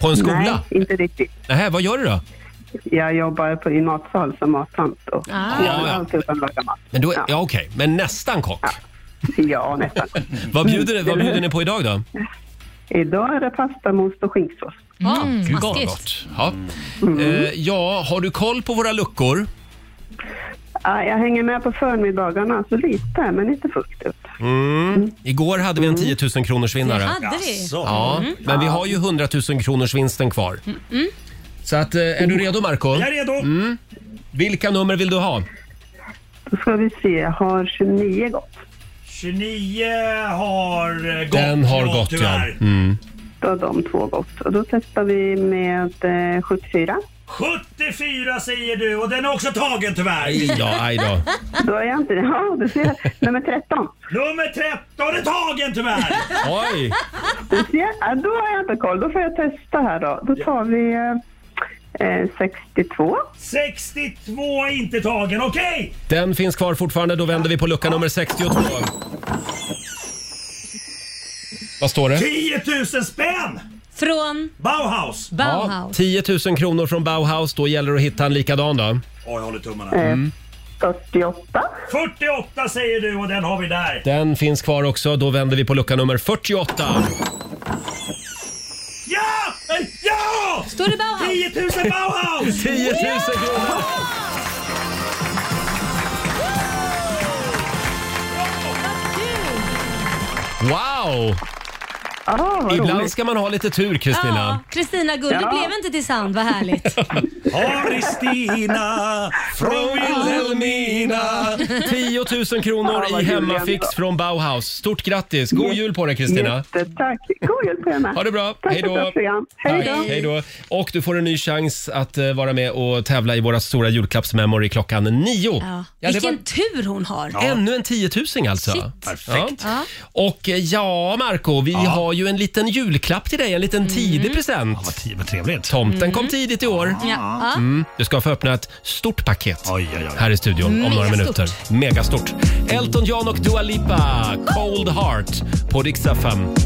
på en skola.
Nej, inte riktigt.
Nähä, vad gör du då?
Jag jobbar på, i matsal som mattant. Och
Ah.
Jag
Ja,
har
ja.
alltid utan laga mat.
Men då, är-
ja.
ja, okej. Men nästan kock.
(laughs) ja, nästan.
(laughs) Vad, bjuder, vad bjuder ni på idag då?
Mm.
Idag är det pastamost och skinksås.
Ja,
Ah, Gud, Mm. vad
maskigt.
gott. Ja. Eh, ja, har du koll på våra luckor?
Ah, jag hänger med på förmiddagarna, så lite, men inte fullt ut.
Mm. Igår hade vi en
Mm.
10 000 kronors
Det
vinnare.
hade vi.
Jaså?
Ja, men vi har ju 100 000 kronors vinsten kvar.
Mm,
Så att, eh, är du redo Marco? Mm.
Jag är redo!
Vilka nummer vill du ha?
Då ska vi se, jag har 29 gått.
29 har eh, gått.
Den har gått ja.
tyvärr.
Mm.
Då har de två gått. Och då testar vi med eh, 74.
74 säger du och den är också tagen tyvärr.
Aj då, aj då.
Då är jag inte... (laughs) Ja, du ser. Nummer 13.
Nummer 13 är tagen tyvärr.
Oj!
Du ser. Ja, då har jag inte koll. Då får jag testa här då. Då tar vi eh, eh, 62.
62 är inte tagen. Okej!
Den finns kvar fortfarande. Då vänder vi på lucka nummer 62. Vad står det?
10 000 spänn!
Från
Bauhaus!
Ja,
Bauhaus.
10 000 kronor från Bauhaus. Då gäller det att hitta en likadan då.
Åh, jag håller tummarna.
Mm.
48.
48 säger du och den har vi där.
Den finns kvar också. Då vänder vi på lucka nummer 48.
Ja! Eh, Ja!
Står det Bauhaus?
10 000 Bauhaus!
10 000 kronor! Wow!
Ja, vad
Ibland
roligt.
ska man ha lite tur,
Ja,
Kristina.
Kristina Gull, du
Ja.
blev inte till sand, vad härligt.
Har Kristina
Från Vilhelmina! 10 000 kronor
Ja, vad
i
kul,
hemmafix
Linda.
från Bauhaus. Stort grattis! God jul på dig, Kristina.
Jättetack. God jul på er med.
Ha det bra.
Tack
Hej då.
för ett bra program. Hej
Tack.
då.
Hej då! Och du får en ny chans att eh, vara med och tävla i våra stora julklappsmemory klockan nio.
Ja.
Ja, det var
Vilken tur hon har.
Ännu en 10 000 alltså.
Shit.
Perfekt. Ja. Och eh, ja, Marco, vi har ju en liten julklapp till dig, en liten tidig present.
Vad trevligt. Mm.
Tomten kom tidigt i år.
Ja.
Mm. Du ska få öppna ett stort paket
Oj, oj, oj.
här i studion om några
Megastort.
minuter. Megastort. Elton John och Dua Lipa, Cold Heart på Riksdag 5.
It's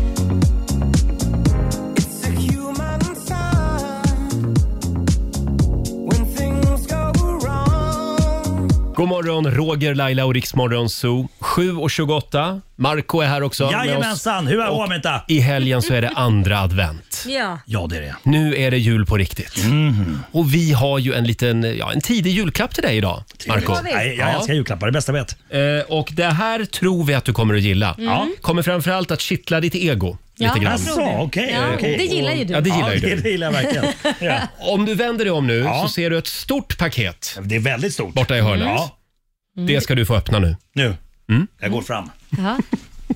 a human sign when things go wrong.
God morgon, Roger, Laila och Riksmorgon Zoo. 7.28. Marco är här också med oss.
Jajamensan, hur är Åmenta?
I helgen så är det andra advent.
Ja.
Ja, det är det.
Nu är det jul på riktigt.
Mhm.
Och vi har ju en liten, ja, en tidig julklapp till dig idag, Marco.
har vi.
Nej, jag
Ja.
älskar julklappar, det bästa jag vet. Mm.
Eh, och det här tror vi att du kommer att gilla. Kommer framförallt att kittla ditt ego
Ja,
lite grann.
jag tror
Asså,
det.
okej,
ja,
okej.
Det gillar ju du.
Ja, det gillar
ja,
ju
det,
du.
det gillar jag
(laughs)
verkligen. Ja.
Om du vänder dig om nu
Ja.
så ser du ett stort paket
Det är väldigt stort.
borta i hörnet.
Ja,
Det ska du få öppna nu. Mm.
nu. Jag går fram.
Ja.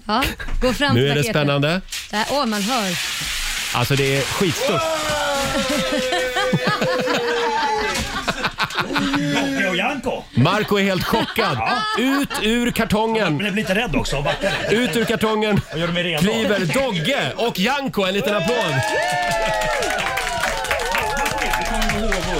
Ja. Gå fram
Nu
till
är det
paketet.
spännande.
Där, åh, man
(laughs)
hör.
Alltså det är skitstort.
Jocke och Janko.
Marco är helt chockad. Ut ur
Jag
kartongen.
blev lite rädd också och backade.
Ut ur kartongen
Jag gjorde mig redo.
kliver Dogge och Janko. En liten applåd.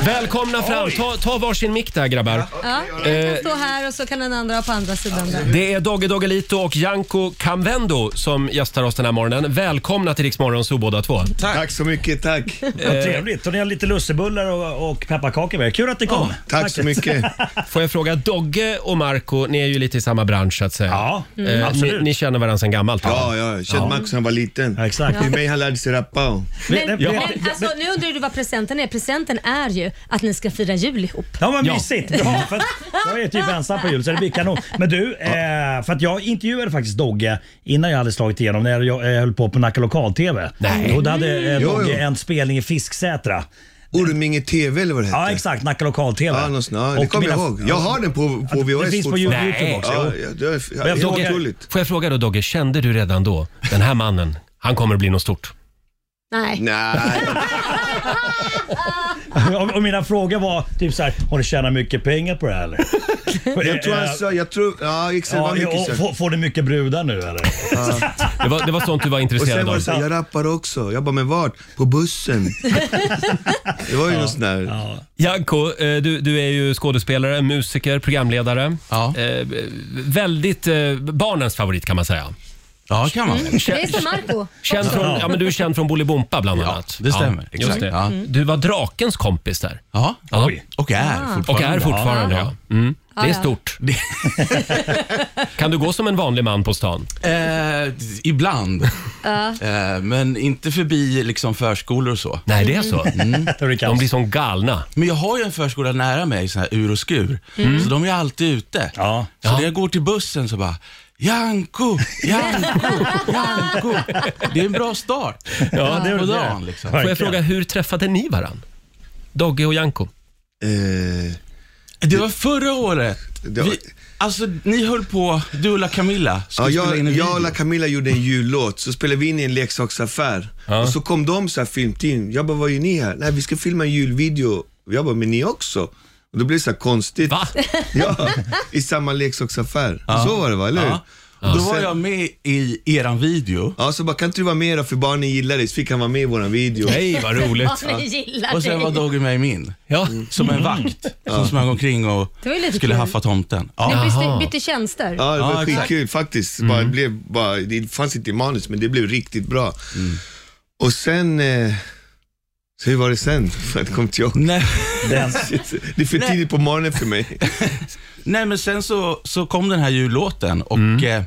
Välkomna fram.
Oj.
Ta, ta varsin mick där grabbar.
Ja.
Eh.
En kan stå här och så kan den andra på andra sidan. Där.
Det är Dogge Doggelito och Janko Kamvendo som gästar oss den här morgonen. Välkomna till Rix Morgon Zoo båda två.
Tack. så mycket, tack.
Vad trevligt. Och ni har lite lussebullar och, och pepparkakor med er. Kul att ni kom.
Tack så mycket.
(laughs) Får jag fråga, Dogge och Marco, ni är ju lite i samma bransch så att säga.
Ja, mm.
Eh,
absolut.
Ni, ni känner varandra sedan gammalt? va?
Ja, ja, jag kände Max när jag var liten.
Ja, exakt.
Till mig han lärde sig rappa. och-
Men,
Ja.
men alltså, nu undrar du vad presenten är. Presenten är ju att ni ska fira jul ihop.
Ja vad
Ja.
mysigt. Bra,
(laughs)
för att jag är typ ensam på jul så det blir kanon. Men du, eh, för att jag intervjuade faktiskt Dogge innan jag hade slagit igenom när jag eh, höll på på Nacka Lokal-TV.
Nej.
Och då hade eh,
Jo,
Dogge
jo.
en spelning i Fisksätra.
Orminge TV eller vad det hette.
Ja exakt, Nacka Lokal-TV.
Ja, någonstans. ja det
Och
kommer jag
mina-
ihåg. Jag har den på, på VHS
Det finns på
fortfarande.
Youtube
Nej.
också.
Ja,
jo.
ja, det är ja,
jag
helt
frågar-
otroligt.
Får jag fråga då Dogge, kände du redan då, den här mannen, han kommer att bli något stort?
Nej.
Nej.
Och, och mina frågor var typ så här, har du tjänat mycket pengar på
(laughs)
det här eller?
Jag tror han sa, jag tror, ja exakt, det var
Ja,
mycket
och,
så.
får, får du mycket brudar nu eller?
(laughs) Det var, det var sånt du var
Och sen
intresserad
var det
av.
så, här, jag rappar också. Jag bara, men vart? På bussen. Det var ju något sånt där.
Janko, eh, du, du är ju skådespelare, musiker, programledare.
Ja.
Eh, väldigt eh, barnens favorit kan man säga. Mm.
Ja, kan man väl.
Det är som Marco.
Känd (laughs) från, ja, men du är känd från Bolibompa bland
Ja,
annat.
det stämmer.
just
Exakt.
det. Mm.
Ja.
Du var drakens kompis där.
Ja.
Ja.
Och är fortfarande.
Och är fortfarande. Ja.
Ja.
Mm. Det är
ja.
stort. (laughs) kan du gå som en vanlig man på stan?
Eh, ibland. Eh, men inte förbi liksom förskolor och så. Mm.
Nej, det är så. Mm.
Där det
De
kan.
blir som galna.
Men jag har ju en förskola nära mig, sån här ur och skur. Så de är alltid ute.
Mm. Ja.
Så när jag går till bussen så bara, Janko, Janko, Janko. Det är en bra start
Ja, det är
på
väl det.
dagen. Liksom.
Får
Verkligen.
jag fråga, hur träffade ni varann? Dogge och Janko?
Eh,
Det var förra året.
Det var-
Vi, alltså, ni höll på, du och La Camilla
Ja,
skulle spela in
jag,
en
jag och
video.
La Camilla gjorde en jullåt, så spelade vi in i en leksaksaffär. Och så kom de så här filmteam. Jag bara, vad gör ni här? Nej, vi ska filma en julvideo. Jag bara, men ni också? Och då blev det så här konstigt.
Va?
(laughs) Ja, i samma leksaksaffär. Så var det va, eller hur?
Ja. Då var jag med i eran video.
Ja, så bara, kan inte du vara med då för barnen gillar dig? Så fick han vara med i våran video.
Nej,
(laughs)
vad roligt.
Ja, ni gillar
Och sen var
dig.
Dogge med i min.
Ja.
Som en
Mm.
vakt som smög omkring och
Det var ju lite
skulle
kul.
haffa tomten. Ja.
Ni
Jaha.
bytte, bytte tjänster.
Ja, det var
Ja, exakt.
skitkul faktiskt. Bara, det, blev bara, det fanns inte i manus, men det blev riktigt bra. Och sen... Eh, så hur var det sen? Jag kommer inte ihåg.
Nej, (laughs)
Det är för tidigt på morgonen för mig.
nej men sen så, så kom den här jullåten och eh,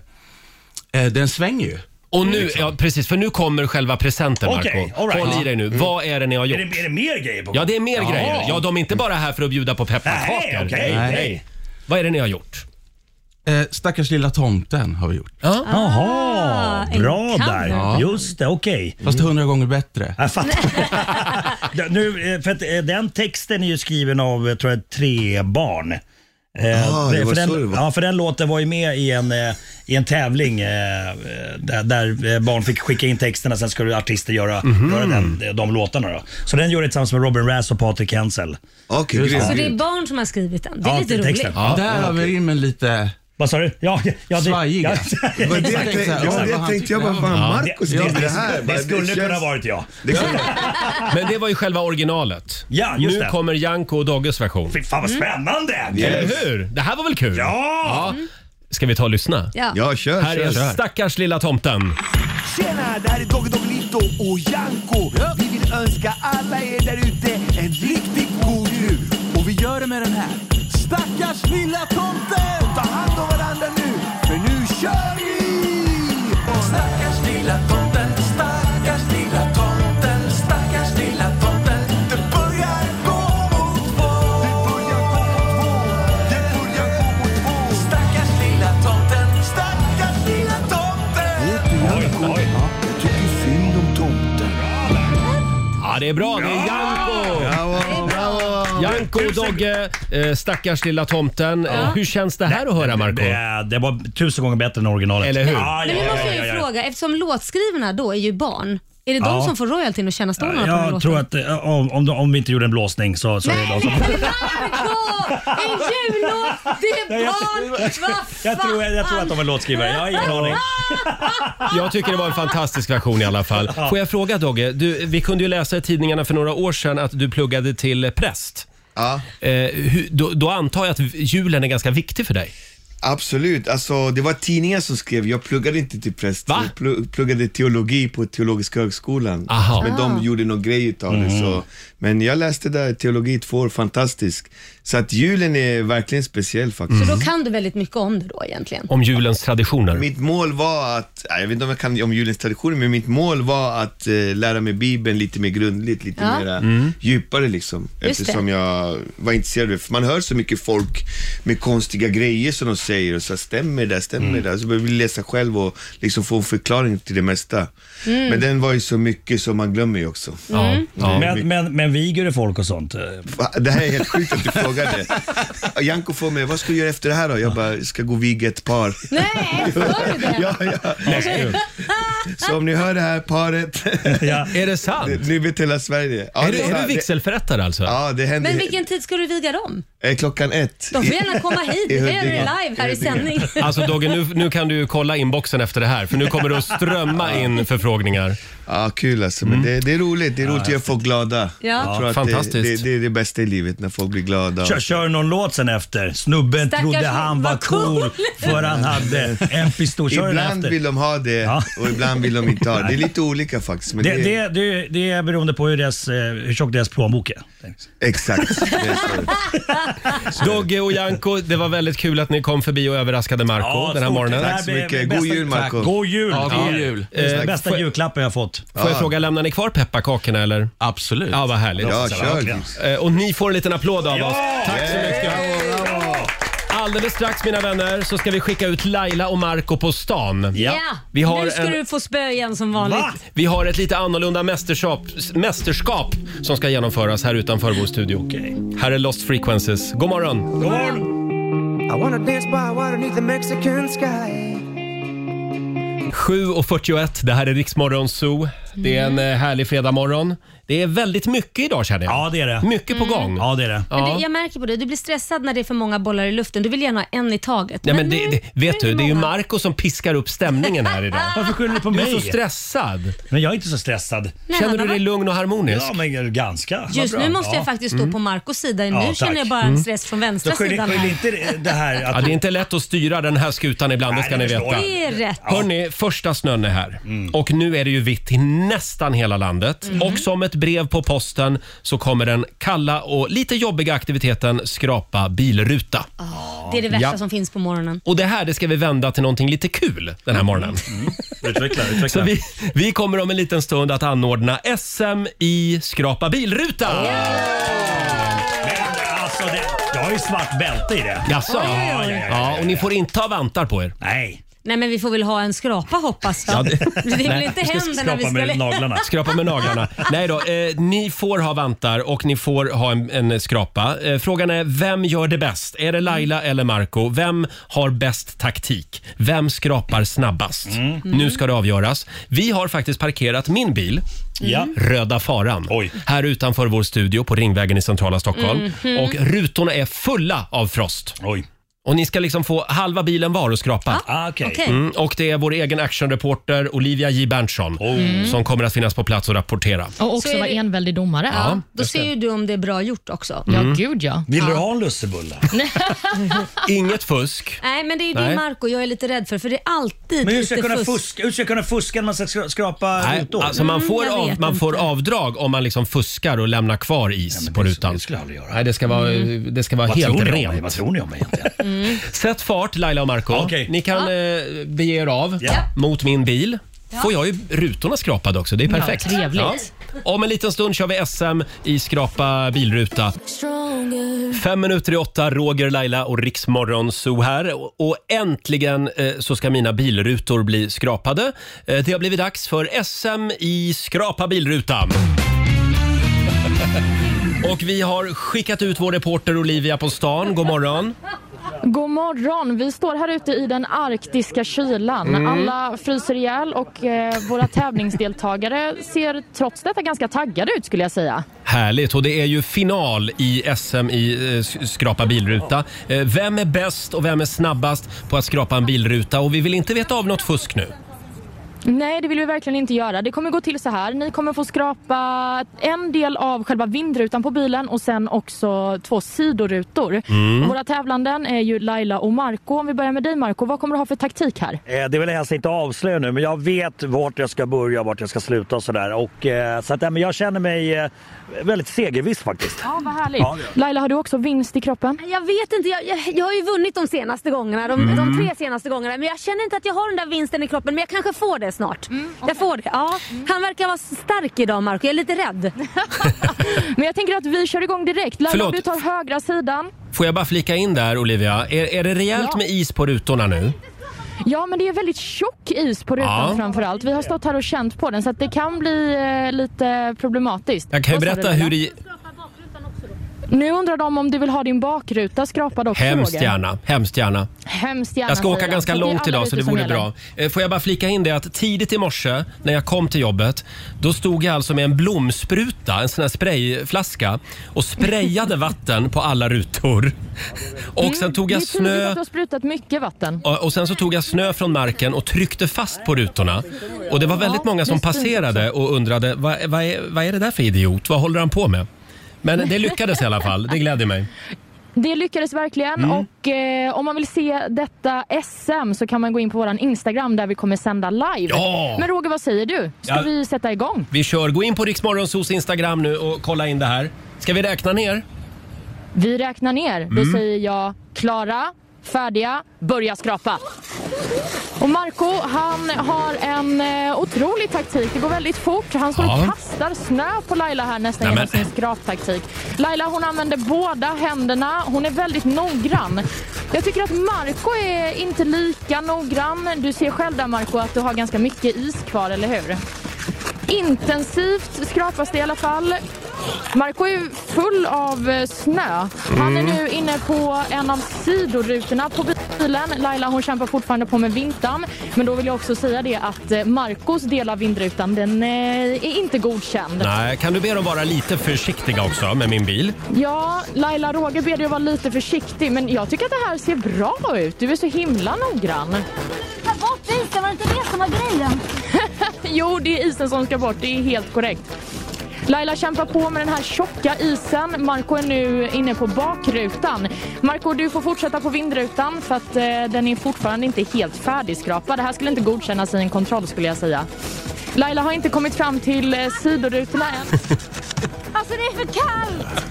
eh, den svänger ju.
Mm.
Liksom.
Och nu, ja, precis, för nu kommer själva presenten Marco.
Okej, all right. Mm.
Håll i dig nu. Vad är det ni har
Är,
gjort?
det, är det mer grejer på gång?
Ja, det är mer
Jaha.
grejer. Ja, de är inte bara här för att bjuda på
Nej,
pepparkakor.
okej.
Nej.
nej.
Vad är det ni har gjort?
Eh, stackars lilla tomten har vi gjort. Ah,
Ja.
Jaha,
Ah, en
bra
cover.
där. Just det, okej. Mm.
Fast hundra gånger bättre.
Jag fattar.
(laughs)
Det- nu, eh, för att eh, den texten är ju skriven av, eh, tror jag, tre barn. Eh,
Ah, det
för
var
den,
så det var.
Ja, för den låten var ju med i en, eh, i en tävling eh, eh, där, där eh, barn fick skicka in texterna, sen skulle artister göra,
Mhm.
göra den, eh, de låtarna. Då. Så den gör det tillsammans med Robin Razz och Patrik Hensel.
Okej, okay,
Så det är barn som har skrivit den. Det är
Ja,
lite roligt.
texten.
Där har vi rimmen lite
Vad sa du? Ja, ja, ja, (laughs) det-
svajiga.
Det var det jag
Exakt,
tänkte,
exakt.
ja, det
Ja,
jag
han
tänkte jag bara,
tyckte
fan
Ja.
Marcus
Ja,
gjorde
det,
det här.
det
Bara,
skulle
känns-
kunna varit jag.
Det kunde-
Men det var ju själva originalet.
Ja, just
nu
det.
kommer Janko och Dogges version.
Fy fan vad spännande!
Eller hur? Det här var väl kul?
Ja!
Ska vi ta och lyssna?
Ja.
Ja, kör,
Här
kör.
är stackars lilla tomten.
Tjena, det här är Dogge Doggelito och Janko. Vi vill önska alla er där ute en riktigt god jul. Och vi gör det med den här. Stackars lilla tomten! Ta hand om varandra nu, för nu kör vi! Stackars lilla tomten, stackars lilla tomten, stackars lilla tomten. Det börjar gå mot vår. Det börjar gå mot vår. Det börjar gå mot vår. Stackars lilla tomten, stackars lilla tomten. Jag tycker synd om tomten.
Ja, det är bra. Det är Janko!
Bravo, bravo.
Janko och Dogge, eh, stackars lilla tomten. Eh, Hur känns det här att höra, Marco?
Det, det var tusen gånger bättre än (laughs) originalet.
Eller hur?
Ja, ja,
Men nu
ja,
måste jag
ja,
ju
ja, ja.
fråga, eftersom låtskrivarna då är ju barn. Är det de
Ja.
som får royaltyn och tjäna stålarna på den
Jag
låten?
tror att eh, om, om, om vi inte gjorde en blåsning så, så är det
Nej,
de som...
men Marco! En jullåt! Det är barn! Vad
(laughs) Jag tror, jag tror att de är låtskrivare. Jag har ingen aning.
Jag tycker det var en fantastisk version i alla fall. Får jag fråga Dogge, du, vi kunde ju läsa i tidningarna för några år sedan att du pluggade till präst.
Ja,
Eh, hur, då, då antar jag att julen är ganska viktig för dig.
absolut. Alltså, det var tidningar som skrev, jag pluggade inte till präst.
Va?
Jag plu- pluggade teologi på Teologiska högskolan.
Aha.
Men
Ah.
de gjorde någon grej utav det. Så. Men jag läste där teologi två år, fantastisk. Så att julen är verkligen speciell faktiskt.
Då kan du väldigt mycket om det då egentligen.
Om julens traditioner.
Mitt mål var att, nej, jag vet inte om jag kan om julens traditioner, men mitt mål var att eh, lära mig Bibeln lite mer grundligt, lite
Ja.
mer
Mm.
djupare liksom.
Just
Eftersom
det.
jag var intresserad av det. För man hör så mycket folk med konstiga grejer som de säger och så här, stämmer det, stämmer
Mm.
det? Så jag vill läsa själv och liksom få en förklaring till det mesta.
Mm.
Men den var ju så mycket som man glömmer ju också.
Ja, ja.
Men, men, men viger du folk och sånt?
Va? Det här är helt sjukt att du frågade. Janko får mig, vad ska du göra efter det här då? Jag bara, ska gå och viga ett par.
Nej, hör du det?
ja, ja. Så om ni hör det här paret,
Ja, är det sant?
nu vet hela Sverige. Ja,
är, du,
det
är du
sant.
vigselförrättare alltså?
Det- Ja, det händer.
Men vilken tid ska du viga dem?
Eh, Klockan ett.
De
i-
får gärna
(laughs)
(laughs)
komma hit.
i
Vi kan göra det
Huddinge.
live här i
Huddinge.
sändning.
Alltså Dogge, nu, nu kan du ju kolla inboxen efter det här för nu kommer det att strömma in förfrågningar.
Ja, kul alltså.
Mm.
Men det, det är roligt. Det är roligt att göra folk glada. Jag tror att
fantastiskt.
Det, det, det är det bästa i livet, när folk blir glada.
Kör, kör någon låt sen efter. Snubben
Stackars
trodde han var cool för han hade en pistol. Kör den
Ibland
efter.
vill de ha det
Ja.
och ibland vill de inte ha det. Det är lite olika faktiskt. Men
Det,
det,
det, det, det är beroende på hur, deras, eh, hur tjock deras plånbok är.
Exakt. Det är så.
(laughs) Dogge och Janko, det var väldigt kul att ni kom förbi och överraskade Marco
Ja,
den här
stort
morgonen.
tack.
Tack så
Det här blir
mycket. God
bästa-
jul Marco.
God jul!
Ja, god
Det är
jul.
den
Eh,
Bästa
får-
julklappen jag fått.
Får jag fråga, lämnar ni kvar pepparkakorna eller?
Absolut.
Ja, vad härligt.
Ja,
verkligen.
kör.
Eh, Och ni får en liten applåd av oss. Tack så mycket.
Bravo, bravo.
Alldeles strax mina vänner så ska vi skicka ut Laila och Marco på stan.
Ja,
Vi har
nu ska
en-
du få spö igen som vanligt.
Va?
Vi har ett lite annorlunda mästerskap, mästerskap som ska genomföras här utanför vår studio. Här är Lost Frequences. God morgon!
God morgon!
I wanna dance by water neath the Mexican sky
7.41, det här är Riksmorgon Zoo. Det är en eh, härlig fredagmorgon. Det är väldigt mycket idag känner jag.
Ja, det är det.
Mycket på gång.
Ja, det är det.
Men
Ja.
det, jag märker på dig, du blir stressad när det är för många bollar i luften. Du vill gärna ha en i taget.
Nej, men det,
nu-
det,
nu
vet du, det är ju
många.
Marco som piskar upp stämningen här idag.
(laughs) Varför skyller ni på
Du är så
mig?
stressad.
Men jag är inte så stressad.
Nej,
Känner
han
du
har
dig
varit-
lugn och harmonisk? Mm.
Ja, men ganska. Vad
Just
bra.
nu måste
Ja.
jag faktiskt stå på Marcos sida. Nu
Ja, tack.
känner jag bara en stress från
Då
vänstra
skyller
sidan.
skyller
Här.
inte det- det här
Ja,
att...
det är inte lätt att styra den här skutan ibland, det
Nej,
ska
det
ni
förstår
veta.
jag. Mm.
Det är rätt.
Hörni, första snön är här och nu är det ju vitt i nästan hela landet.
Mm.
Och som ett brev på posten så kommer den kalla och lite jobbiga aktiviteten skrapa bilruta.
Det är det värsta
Ja.
som finns på morgonen.
Och det här det ska vi vända till någonting lite kul den här morgonen.
Utveckla, utveckla.
Så vi, vi kommer om en liten stund att anordna SM i skrapa bilruta.
Men alltså, det, jag har ju svart bälte i det.
Jaså?
ja, ja, ja,
Ja, och ni får inte ha vantar på er.
Nej,
Nej, men vi får väl ha en skrapa hoppas jag.
Ja,
(laughs)
det-
(laughs)
det... vill
Nej,
inte
vi ska
hända när vi
skrapa med
ska...
naglarna.
Skrapa
(laughs)
med naglarna. Nej då, eh, ni får ha vantar och ni får ha en, en skrapa. Eh, frågan är, vem gör det bäst? Är det Laila
Mm.
eller Marco? Vem har bäst taktik? Vem skrapar snabbast?
Mm.
Nu ska det avgöras. Vi har faktiskt parkerat min bil.
Ja.
Röda faran.
Oj.
Här utanför vår studio på Ringvägen i centrala Stockholm.
Mhm.
Och rutorna är fulla av frost.
Oj.
Och ni ska liksom få halva bilen var att skrapa.
Ah, Okej.
Okej.
Mm, och det är vår egen actionreporter Olivia J Berntsson
Oh.
Mm.
som kommer att finnas på plats och rapportera.
(laughs) Och
Så
också
är
vara
det-
enväldig domare. Ja.
Då ser ju du om det är bra gjort också.
Mm.
(laughs)
gud ja.
Vill du ha en lussebulle?
Inget fusk.
Nej, men det är ju
Nej.
det Marco jag är lite rädd för, för det är alltid
Men hur
lite
ska, jag kunna
fusk.
fuska, hur ska jag kunna fuska när man ska skra- skrapa
Nej,
rutor?
alltså man, får
Mm, jag
av,
vet
man får
inte.
avdrag om man liksom fuskar och lämnar kvar is på
det-
rutan.
det skulle jag aldrig göra.
Nej, det ska vara,
Mm.
det ska vara
Vad
helt
tror, ni om mig?
rent.
Vad tror ni om mig egentligen?
Sätt fart Laila och Marco
Okej.
Ni kan eh, bege er av
Ja.
mot min bil. Får jag ju rutorna skrapade också. Det är perfekt.
trevligt.
Om en liten stund kör vi SM i skrapa bilruta. Fem minuter i åtta, Roger, Laila och Riksmorgon Zoo här. Och- Och äntligen eh, så ska mina bilrutor bli skrapade. Eh, det har blivit dags för SM i skrapa bilruta. (laughs) Och vi har skickat ut vår reporter Olivia på stan. God morgon.
God morgon. Vi står här ute i den arktiska kylan. Alla fryser ihjäl och eh, våra tävlingsdeltagare ser trots detta ganska taggade ut skulle jag säga.
Härligt och det är ju final i SM i eh, s- skrapa bilruta. Eh, Vem är bäst och vem är snabbast på att skrapa en bilruta och vi vill inte veta av något fusk nu.
Nej, det vill vi verkligen inte göra. Det kommer gå till så här. Ni kommer få skrapa en del av själva vindrutan på bilen och sen också två sidorutor. Våra tävlanden är ju Laila och Marco. Om vi börjar med dig Marco, vad kommer du ha för taktik här?
Eh, Det vill jag helst inte avslöja nu, men jag vet vart jag ska börja och vart jag ska sluta och sådär. Och, eh, så att, eh, men jag känner mig eh, väldigt segerviss faktiskt.
Ja, vad härligt. Laila, har du också vinst i kroppen?
Jag vet inte, jag, jag, jag har ju vunnit de senaste gångerna, de, de tre senaste gångerna. Men jag känner inte att jag har den där vinsten i kroppen, men jag kanske får det snart.
Mm,
Jag får det, ja. Han verkar vara stark idag Marco, jag är lite
(laughs)
rädd.
Men jag tänker att vi kör igång direkt. Laila,
Förlåt.
om du tar högra sidan.
Får jag bara flika in där Olivia, är, är det rejält
Ja.
med is på rutorna nu?
Ja, men det är väldigt tjock is på
Ja.
rutan framför allt. Vi har stått här och känt på den så att det kan bli eh, lite problematiskt.
Jag kan ju
Vad sa du,
berätta
Laila?
hur i...
Nu undrar de om du vill ha din bakruta skrapad och
Hemskt
frågor.
gärna, hemskt gärna.
Hemskt gärna.
Jag ska
säger
åka
de.
ganska
Så det är
långt
alla
idag
rutor
så det
som
vore
gäller.
bra. Eh, Får jag bara flika in det att tidigt i morse när jag kom till jobbet då stod jag alltså med en blomspruta, en sån här sprayflaska och
(laughs)
sprayade vatten på alla rutor. Och sen tog jag
Mm, det är tydligt
snö
att du har sprutat mycket vatten.
och och sen så tog jag snö från marken och tryckte fast på rutorna. Och det var väldigt många som passerade och undrade vad, vad, är, vad är det där för idiot? Vad håller han på med? Men det lyckades i alla fall. Det gläder mig.
Det lyckades verkligen
Mm.
och eh, om man vill se detta SM så kan man gå in på våran Instagram där vi kommer sända live.
Ja!
Men Roger, vad säger du? Ska
Ja.
vi sätta igång?
Vi kör. Gå in på Riksmorgonsos Instagram nu och kolla in det här. Ska vi räkna ner?
Vi räknar ner. Då
Mm.
säger jag klara, färdiga, börja skrapa. Och Marco, han har en eh, otrolig taktik. Det går väldigt fort. Han står och
Ja.
kastar snö på Laila här nästan
Nej,
genom
men-
sin skraptaktik. Laila, hon använder båda händerna. Hon är väldigt noggrann. Jag tycker att Marco är inte lika noggrann. Du ser själv där Marco att du har ganska mycket is kvar, eller hur? Intensivt skrapas det i alla fall. Marco är full av eh, snö. Han är
Mm.
nu inne på en av sidorutorna på bilen. Laila hon kämpar fortfarande på med vintern. Men då vill jag också säga det att eh, Marcos del av vindrutan den eh, är inte godkänd.
Nej, kan du be dem vara lite försiktiga också med min bil?
Ja, Laila Roger ber dig att vara lite försiktig men jag tycker att det här ser bra ut. Du är så himla noggrann.
Ta bort isen, var det inte det som var grejen?
(laughs) jo, det är isen som ska bort. Det är helt korrekt. Laila kämpar på med den här tjocka isen. Marco är nu inne på bakrutan. Marco, du får fortsätta på vindrutan för att eh, den är fortfarande inte helt färdigskrapad. Det här skulle inte godkännas i en kontroll skulle jag säga. Laila har inte kommit fram till eh, sidorutorna än.
Alltså det är för kallt!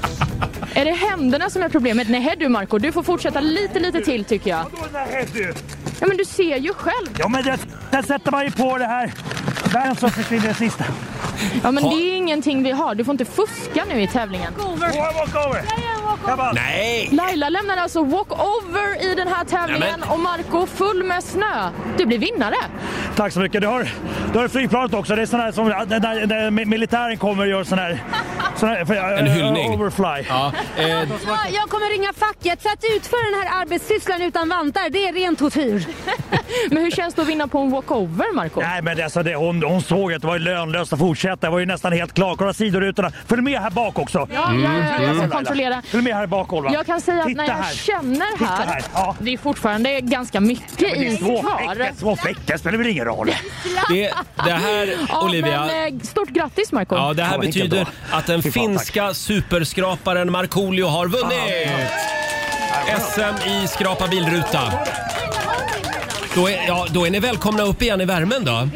Är det händerna som är problemet? Nej du Marco, du får fortsätta lite, lite till tycker jag.
Nej, du.
Ja, men du ser ju själv.
Ja, men det, sen sätter man ju på det här. Där så försvinner det sista.
Ja, men
Ha-
det är ingenting vi har. Du får inte fuska nu i tävlingen.
Walkover!
Nej!
Laila lämnar alltså walkover i den här tävlingen och Marco full med snö. Du blir vinnare.
Tack så mycket. Du har, du har flygplanet också. Det är sån här som när, när, när militären kommer och gör sån här... Sån här för,
En hyllning.
Overfly.
Ja, eh,
Ja, jag kommer ringa facket för att utföra den här arbetssysslan utan vantar, det är ren
(laughs)
tortyr.
Men hur känns det att vinna på en walkover, Marco?
Nej, men det, alltså, det, hon, hon såg att det var ju lönlöst att fortsätta. Det var ju nästan helt klart. Kolla sidorutorna. Följ med här bak också. Mm.
Ja, ja, ja, jag ska
Laila.
kontrollera.
Följ med här bak Olva.
Jag kan säga att
Titta
när jag
här.
känner
Titta
här,
här, ja.
det är fortfarande ganska mycket
Men det är
is kvar. (laughs)
småfläckar, småfläckar spelar väl ingen roll.
det, det här,
Ja,
Olivia...
men, eh, stort grattis Marco.
Ja, det här betyder att den
Fy fan, tack.
finska superskraparen Markoolio har vunnit! SM i skrapa bilruta. Då är, ja, då är ni välkomna upp igen i värmen då.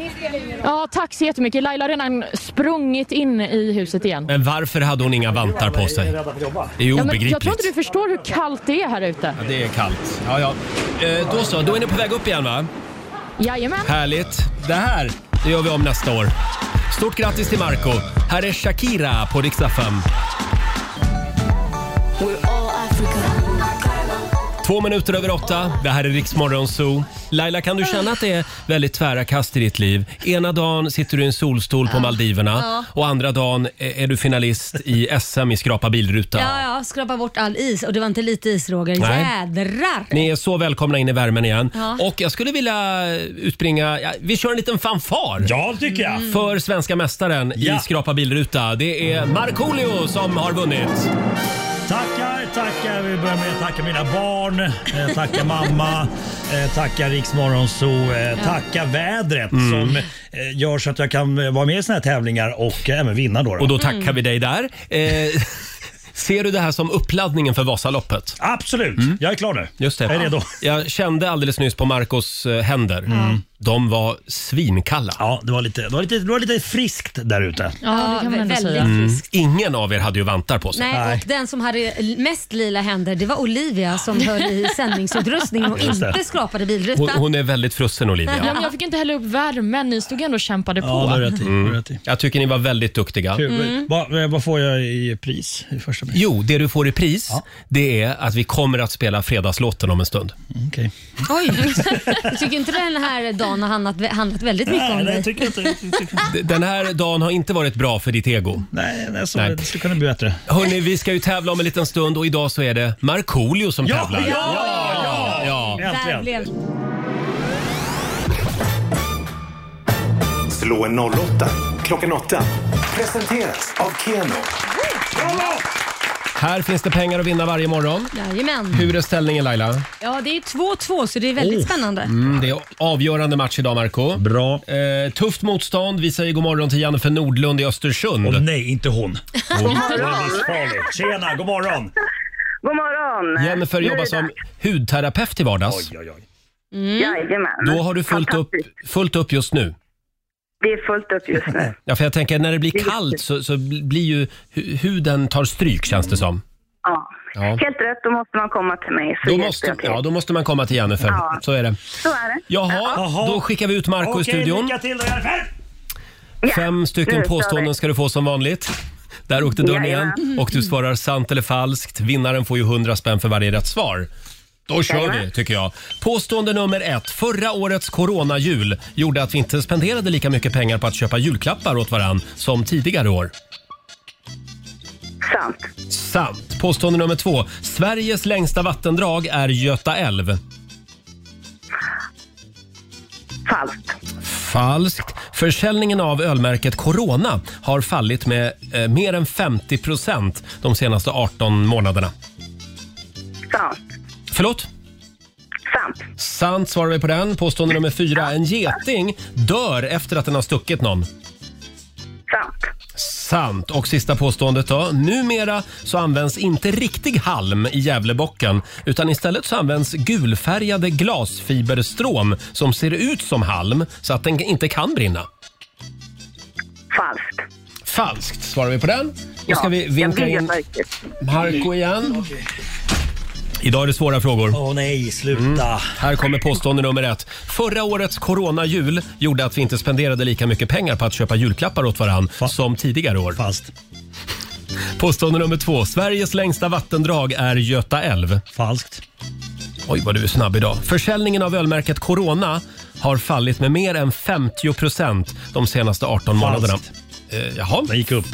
Ja, tack så jättemycket. Laila har redan sprungit in i huset igen.
Men varför hade hon inga vantar på sig? Det är ju
Ja, men jag tror
obegripligt.
inte du förstår hur kallt det är här ute.
Ja, det är kallt. Ja, ja. Eh, då så, då är ni på väg upp igen va?
Jajamän.
Härligt. Det här, det gör vi om nästa år. Stort grattis till Marco. Här är Shakira på riksdag 5. Två minuter över åtta. Det här är Riksmorgon Zoo. Laila, kan du känna att det är väldigt tvära kast i ditt liv? Ena dagen sitter du i en solstol på Maldiverna
Ja.
och andra dagen är är du finalist i SM i skrapa bilruta.
Ja, ja, skrapa bort all is och det var inte lite is Roger.
Nej.
Jädrar!
Ni är så välkomna in i värmen igen.
Ja.
Och jag skulle vilja utbringa, ja, vi kör en liten fanfar.
Ja, tycker jag. Mm.
För svenska mästaren i Skrapa bilruta. Det är Markoolio som har vunnit.
Tackar, tackar. Vi börjar med att tacka mina barn, eh, tacka mamma,
(laughs)
eh, tacka Riksmorgonzoo, eh, tacka vädret
Mm.
som eh, gör så att jag kan eh, vara med i såna här tävlingar och eh, även vinna. Då, då.
Och då tackar vi dig där. Eh, (laughs) ser du det här som uppladdningen för Vasaloppet?
Absolut, jag är klar nu.
Mm. Just det.
Jag är redo.
Jag kände alldeles nyss på Marcos eh, händer. De var svinkalla.
Ja, det var lite, det var lite, det var lite friskt där ute.
Ja,
det kan man ändå
väldigt
säga.
Mm. Ingen av er hade ju vantar på sig.
Nej, och den som hade mest lila händer det var Olivia som höll i
(laughs)
sändningsutrustningen och
Just det.
inte skrapade
Hon,
bilrutan.
hon är väldigt frusen Olivia.
Ja, men jag fick inte heller upp värmen. Ni stod ändå och kämpade på.
Mm. Jag tycker ni var väldigt duktiga.
Kul. Vad, eh, vad får jag i pris i första pris?
Jo, det du får i pris, det är att vi kommer att spela fredagslåten om en stund.
Mm, Okej.
Oj, du tycker inte den här dagen har handlat, handlat väldigt mycket om
Nej,
dig.
jag tycker inte
D- Den här dagen har inte varit bra för ditt ego.
Nej, nej, så det skulle kunna bli bättre.
Hörni, vi ska ju tävla om en liten stund och idag så är det Markoolio som tävlar.
ja,
ja.
Där blev
Slå en 08 klockan 8. Presenteras av Keno.
Här finns det pengar att vinna varje morgon.
Jajamän.
Hur är ställningen Laila?
Ja, det är 2-2 så det är väldigt spännande.
Mm, det är avgörande match idag Marco.
Bra.
Eh, tufft motstånd. Vi säger god morgon till Jennifer Nordlund i Östersund. Åh
nej, inte
(laughs)
hon.
God
Farligt. Tjena, god morgon.
God morgon!
Jennifer
Nu är
jobbar
det
som
dags.
hudterapeut till vardags.
Mm.
Jajamän.
Då har du fullt upp, fullt upp just nu.
Det är fullt upp just
(laughs)
nu.
Ja, för jag tänker när det blir kallt så, så blir ju hu- huden tar stryk känns det som.
Ja.
Ja.
Helt rätt, då måste man komma till mig. så
Då
hjälper
måste,
jag till.
ja, då måste man komma till Jennifer.
Ja.
Så är det.
Så är det.
Jaha,
Ja.
då skickar vi ut Marco i
Okej,
studion.
lycka till då Jennifer.
Fem
nu
stycken
kör
påståenden
vi.
ska du få som vanligt. Där åkte dörren
Jajamän.
igen och du svarar sant eller falskt. Vinnaren får ju 100 spänn för varje rätt svar. Då kör
Jajamän.
vi, tycker jag. Påstående nummer ett. Förra årets coronajul gjorde att vi inte spenderade lika mycket pengar på att köpa julklappar åt varann som tidigare år.
Sant.
Sant. Påstående nummer två. Sveriges längsta vattendrag är Göta älv.
Falskt.
Falskt. Försäljningen av ölmärket Corona har fallit med eh, mer än 50 procent de senaste 18 månaderna.
Sant.
Förlåt? Sant. Sant svarar vi på den. Påstående nummer fyra. En geting dör efter att den har stuckit någon.
Sant.
Sant. Och sista påståendet då. Numera så används inte riktig halm i Gävlebocken utan istället så används gulfärgade glasfiberstrån som ser ut som halm så att den inte kan brinna.
Falskt.
Falskt svarar vi på den. Då
Ja,
ska vi
jag
vinka
vet
in
verkligen.
Marco igen. Idag är det svåra frågor.
Åh nej, sluta.
Mm. Här kommer påstående nummer ett. Förra årets coronajul gjorde att vi inte spenderade lika mycket pengar på att köpa julklappar åt varann som tidigare år.
Fast.
Påstående nummer två. Sveriges längsta vattendrag är Göta älv.
Falskt.
Oj, vad du är snabb idag. Försäljningen av ölmärket Corona har fallit med mer än 50 procent de senaste 18
Falskt.
månaderna. Eh, jaha. Den
gick upp.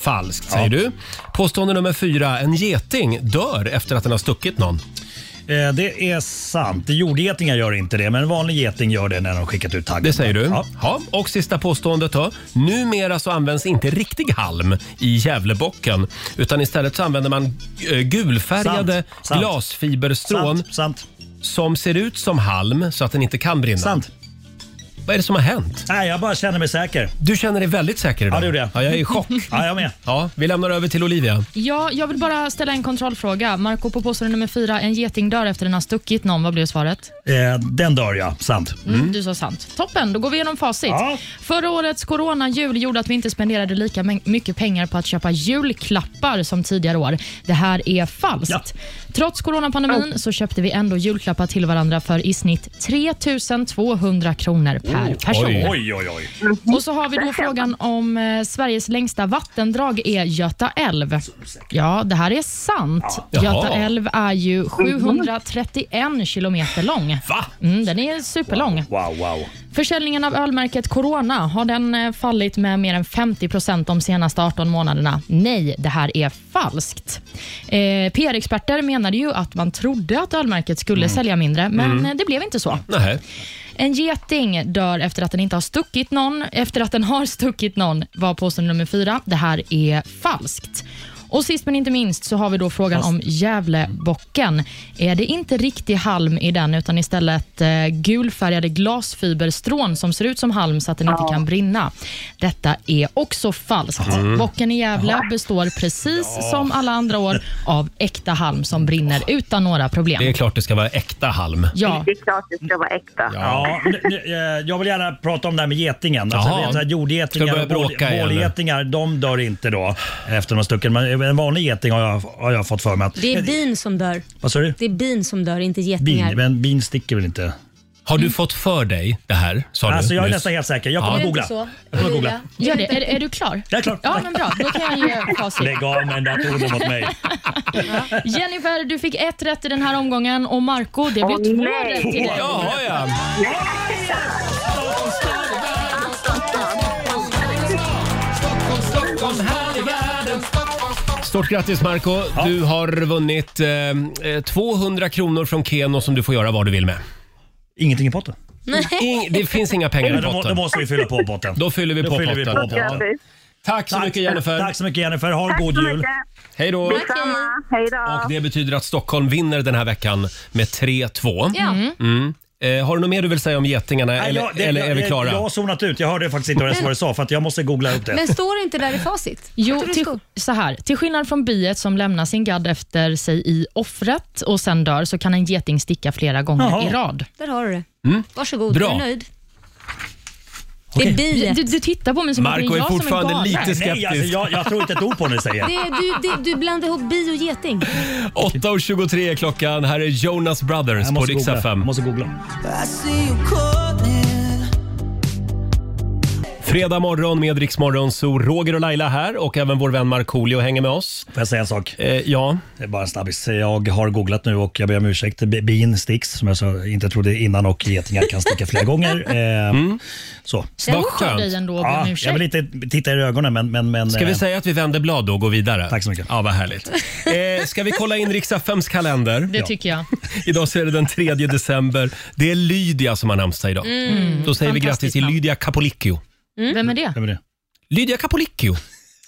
Falskt, säger du. Påstående nummer fyra. En geting dör efter att den har stuckit någon.
Eh, Det är sant. Jordgetingar gör inte det, men en vanlig geting gör det när de skickat ut taggen.
Det säger du. Ja. Och sista påståendet då. Numera så används inte riktig halm i Gävlebocken utan istället så använder man eh, gulfärgade
Sant, sant.
glasfiberstrån
Sant, sant.
som ser ut som halm så att den inte kan brinna.
Sant.
Vad är det som har hänt?
Nej, jag bara känner mig säker.
Du känner dig väldigt säker idag.
Ja, det gjorde jag.
Ja, jag är i chock. (laughs)
(laughs) ja, jag med.
Ja, vi lämnar över till Olivia.
Ja, jag vill bara ställa en kontrollfråga. Marco på påstående nummer fyra, en geting dör efter den har stuckit någon. Vad blev svaret?
Eh, Den dör ja, sant.
Mm, Du sa sant. Toppen, då går vi igenom facit. Förra årets coronajul gjorde att vi inte spenderade lika mäng- mycket pengar på att köpa julklappar som tidigare år. Det här är falskt. Trots coronapandemin så köpte vi ändå julklappar till varandra för i snitt 3 200 kronor per person.
Oj, oj, oj.
Och så har vi då frågan om eh, Sveriges längsta vattendrag är Göta älv. Ja, det här är sant.
Ja. Jaha.
Göta älv är ju 731 kilometer lång.
Va?
Mm, den är superlång.
Wow, wow.
Försäljningen av ölmärket Corona, har den eh, fallit med mer än 50 procent de senaste 18 månaderna? Nej, det här är falskt. Eh, PR-experter menade ju att man trodde att ölmärket skulle
Mm.
sälja mindre, men
Mm.
eh, det blev inte så.
Nej.
En geting dör efter att den inte har stuckit någon. Efter att den har stuckit någon var påstående nummer fyra. Det här är falskt. Och sist men inte minst så har vi då frågan om Gävlebocken. Är det inte riktig halm i den utan istället eh, gulfärgade glasfiberstrån som ser ut som halm så att den inte kan brinna? Detta är också falskt.
Mm.
Bocken i Gävle består precis som alla andra år av äkta halm som brinner utan några problem.
Det är klart det ska vara äkta halm.
Ja.
Det är klart det ska vara äkta.
Ja, nu, nu, eh, jag vill gärna prata om det här med getingen. Alltså,
Jaha.
jag vet, så här,
Ska du
jordgetingar
börja
och bål-
bråka igen,
bålgetingar, de dör inte då efter några stycken. Men en vanlig geting har jag, har jag fått för mig att...
Det är bin som dör.
Vad sa du?
Det är bin som dör, inte getingar.
Bin, men bin sticker väl inte?
Har du fått för dig det här? Sa du
Alltså, jag är
nyss?
nästan helt säker. Jag kommer
Ja.
googla. Jag kommer googla.
Gör det. Är, är du klar?
Jag är klar.
Ja, men bra. Då kan jag ge facit.
Lägg av med den där tonen mot mig.
Jennifer, du fick ett rätt i den här omgången och Marco, det blev
Åh,
två
nej.
rätt till dig.
Ja, ja.
Stockholm, här i världen. Stort grattis Marco Du har vunnit eh, eh, 200 kronor från Keno som du får göra vad du vill med. Ingenting i potten?
Nej.
det finns inga pengar
Nej,
i
då må-
potten.
då måste vi fylla på potten.
Då fyller vi
Då
på
fyller vi
potten.
på potten.
Tack så mycket Jennifer.
Tack så mycket Jennifer. Ha en
Tack
god
så
jul.
mycket.
Hej då.
Detsamma. Hej då.
Och det betyder att Stockholm vinner den här veckan med 3-2.
Ja. Mm.
Mm. Eh, har du något mer du vill säga om getingarna
Nej,
eller,
jag- det-
eller
jag-
är vi
jag-
klara?
Jag har zonat ut. Jag hörde faktiskt inte ens vad du sa för att jag måste googla upp det.
Men står det inte där i facit?
Jo,
Jag tror det
till,
står-
så här. Till skillnad från biet som lämnar sin gadd efter sig i offret och sen dör, så kan en geting sticka flera gånger
Jaha.
i rad.
Där har du det.
Mm.
Varsågod,
Bra.
är du nöjd? Det är biet.
Du, du tittar på mig som att det är jag som är galen.
Nej, alltså, jag, jag tror inte ett ord på vad du säger.
Det, du, det, du blandar ihop bi och geting.
8.23 är klockan. Här är Jonas Brothers
Jag
på
måste
Rix
googla.
FM.
Måste googla.
Fredag morgon med Rix Morgon, så Roger och Laila här och även vår vän Markoolio hänger med oss. Eh,
Får jag säga en sak?
ja.
Det är bara en snabbis. Jag har googlat nu och jag ber om ursäkt. B- Bin sticks, som jag så, inte trodde innan, och getingar kan sticka
(laughs)
flera gånger. Eh,
Mm.
Så.
Jag Vad skönt. dig ändå och ber om
ja,
ursäkt.
jag vill inte titta i ögonen, men... men, men
Ska vi
eh,
säga att vi vänder blad då och går vidare? Tack så mycket. Ja,
(laughs)
vad härligt. Eh, ska vi kolla in Rix FMs kalender?
Det tycker jag.
Idag så är det den 3 december. Det är Lydia som har namnsdag idag.
Mm,
Då säger vi grattis
fantastiskt
till
namn.
Lydia Capolicchio.
Mm.
Vem är det?
Vem är det?
Lydia Capolicchio.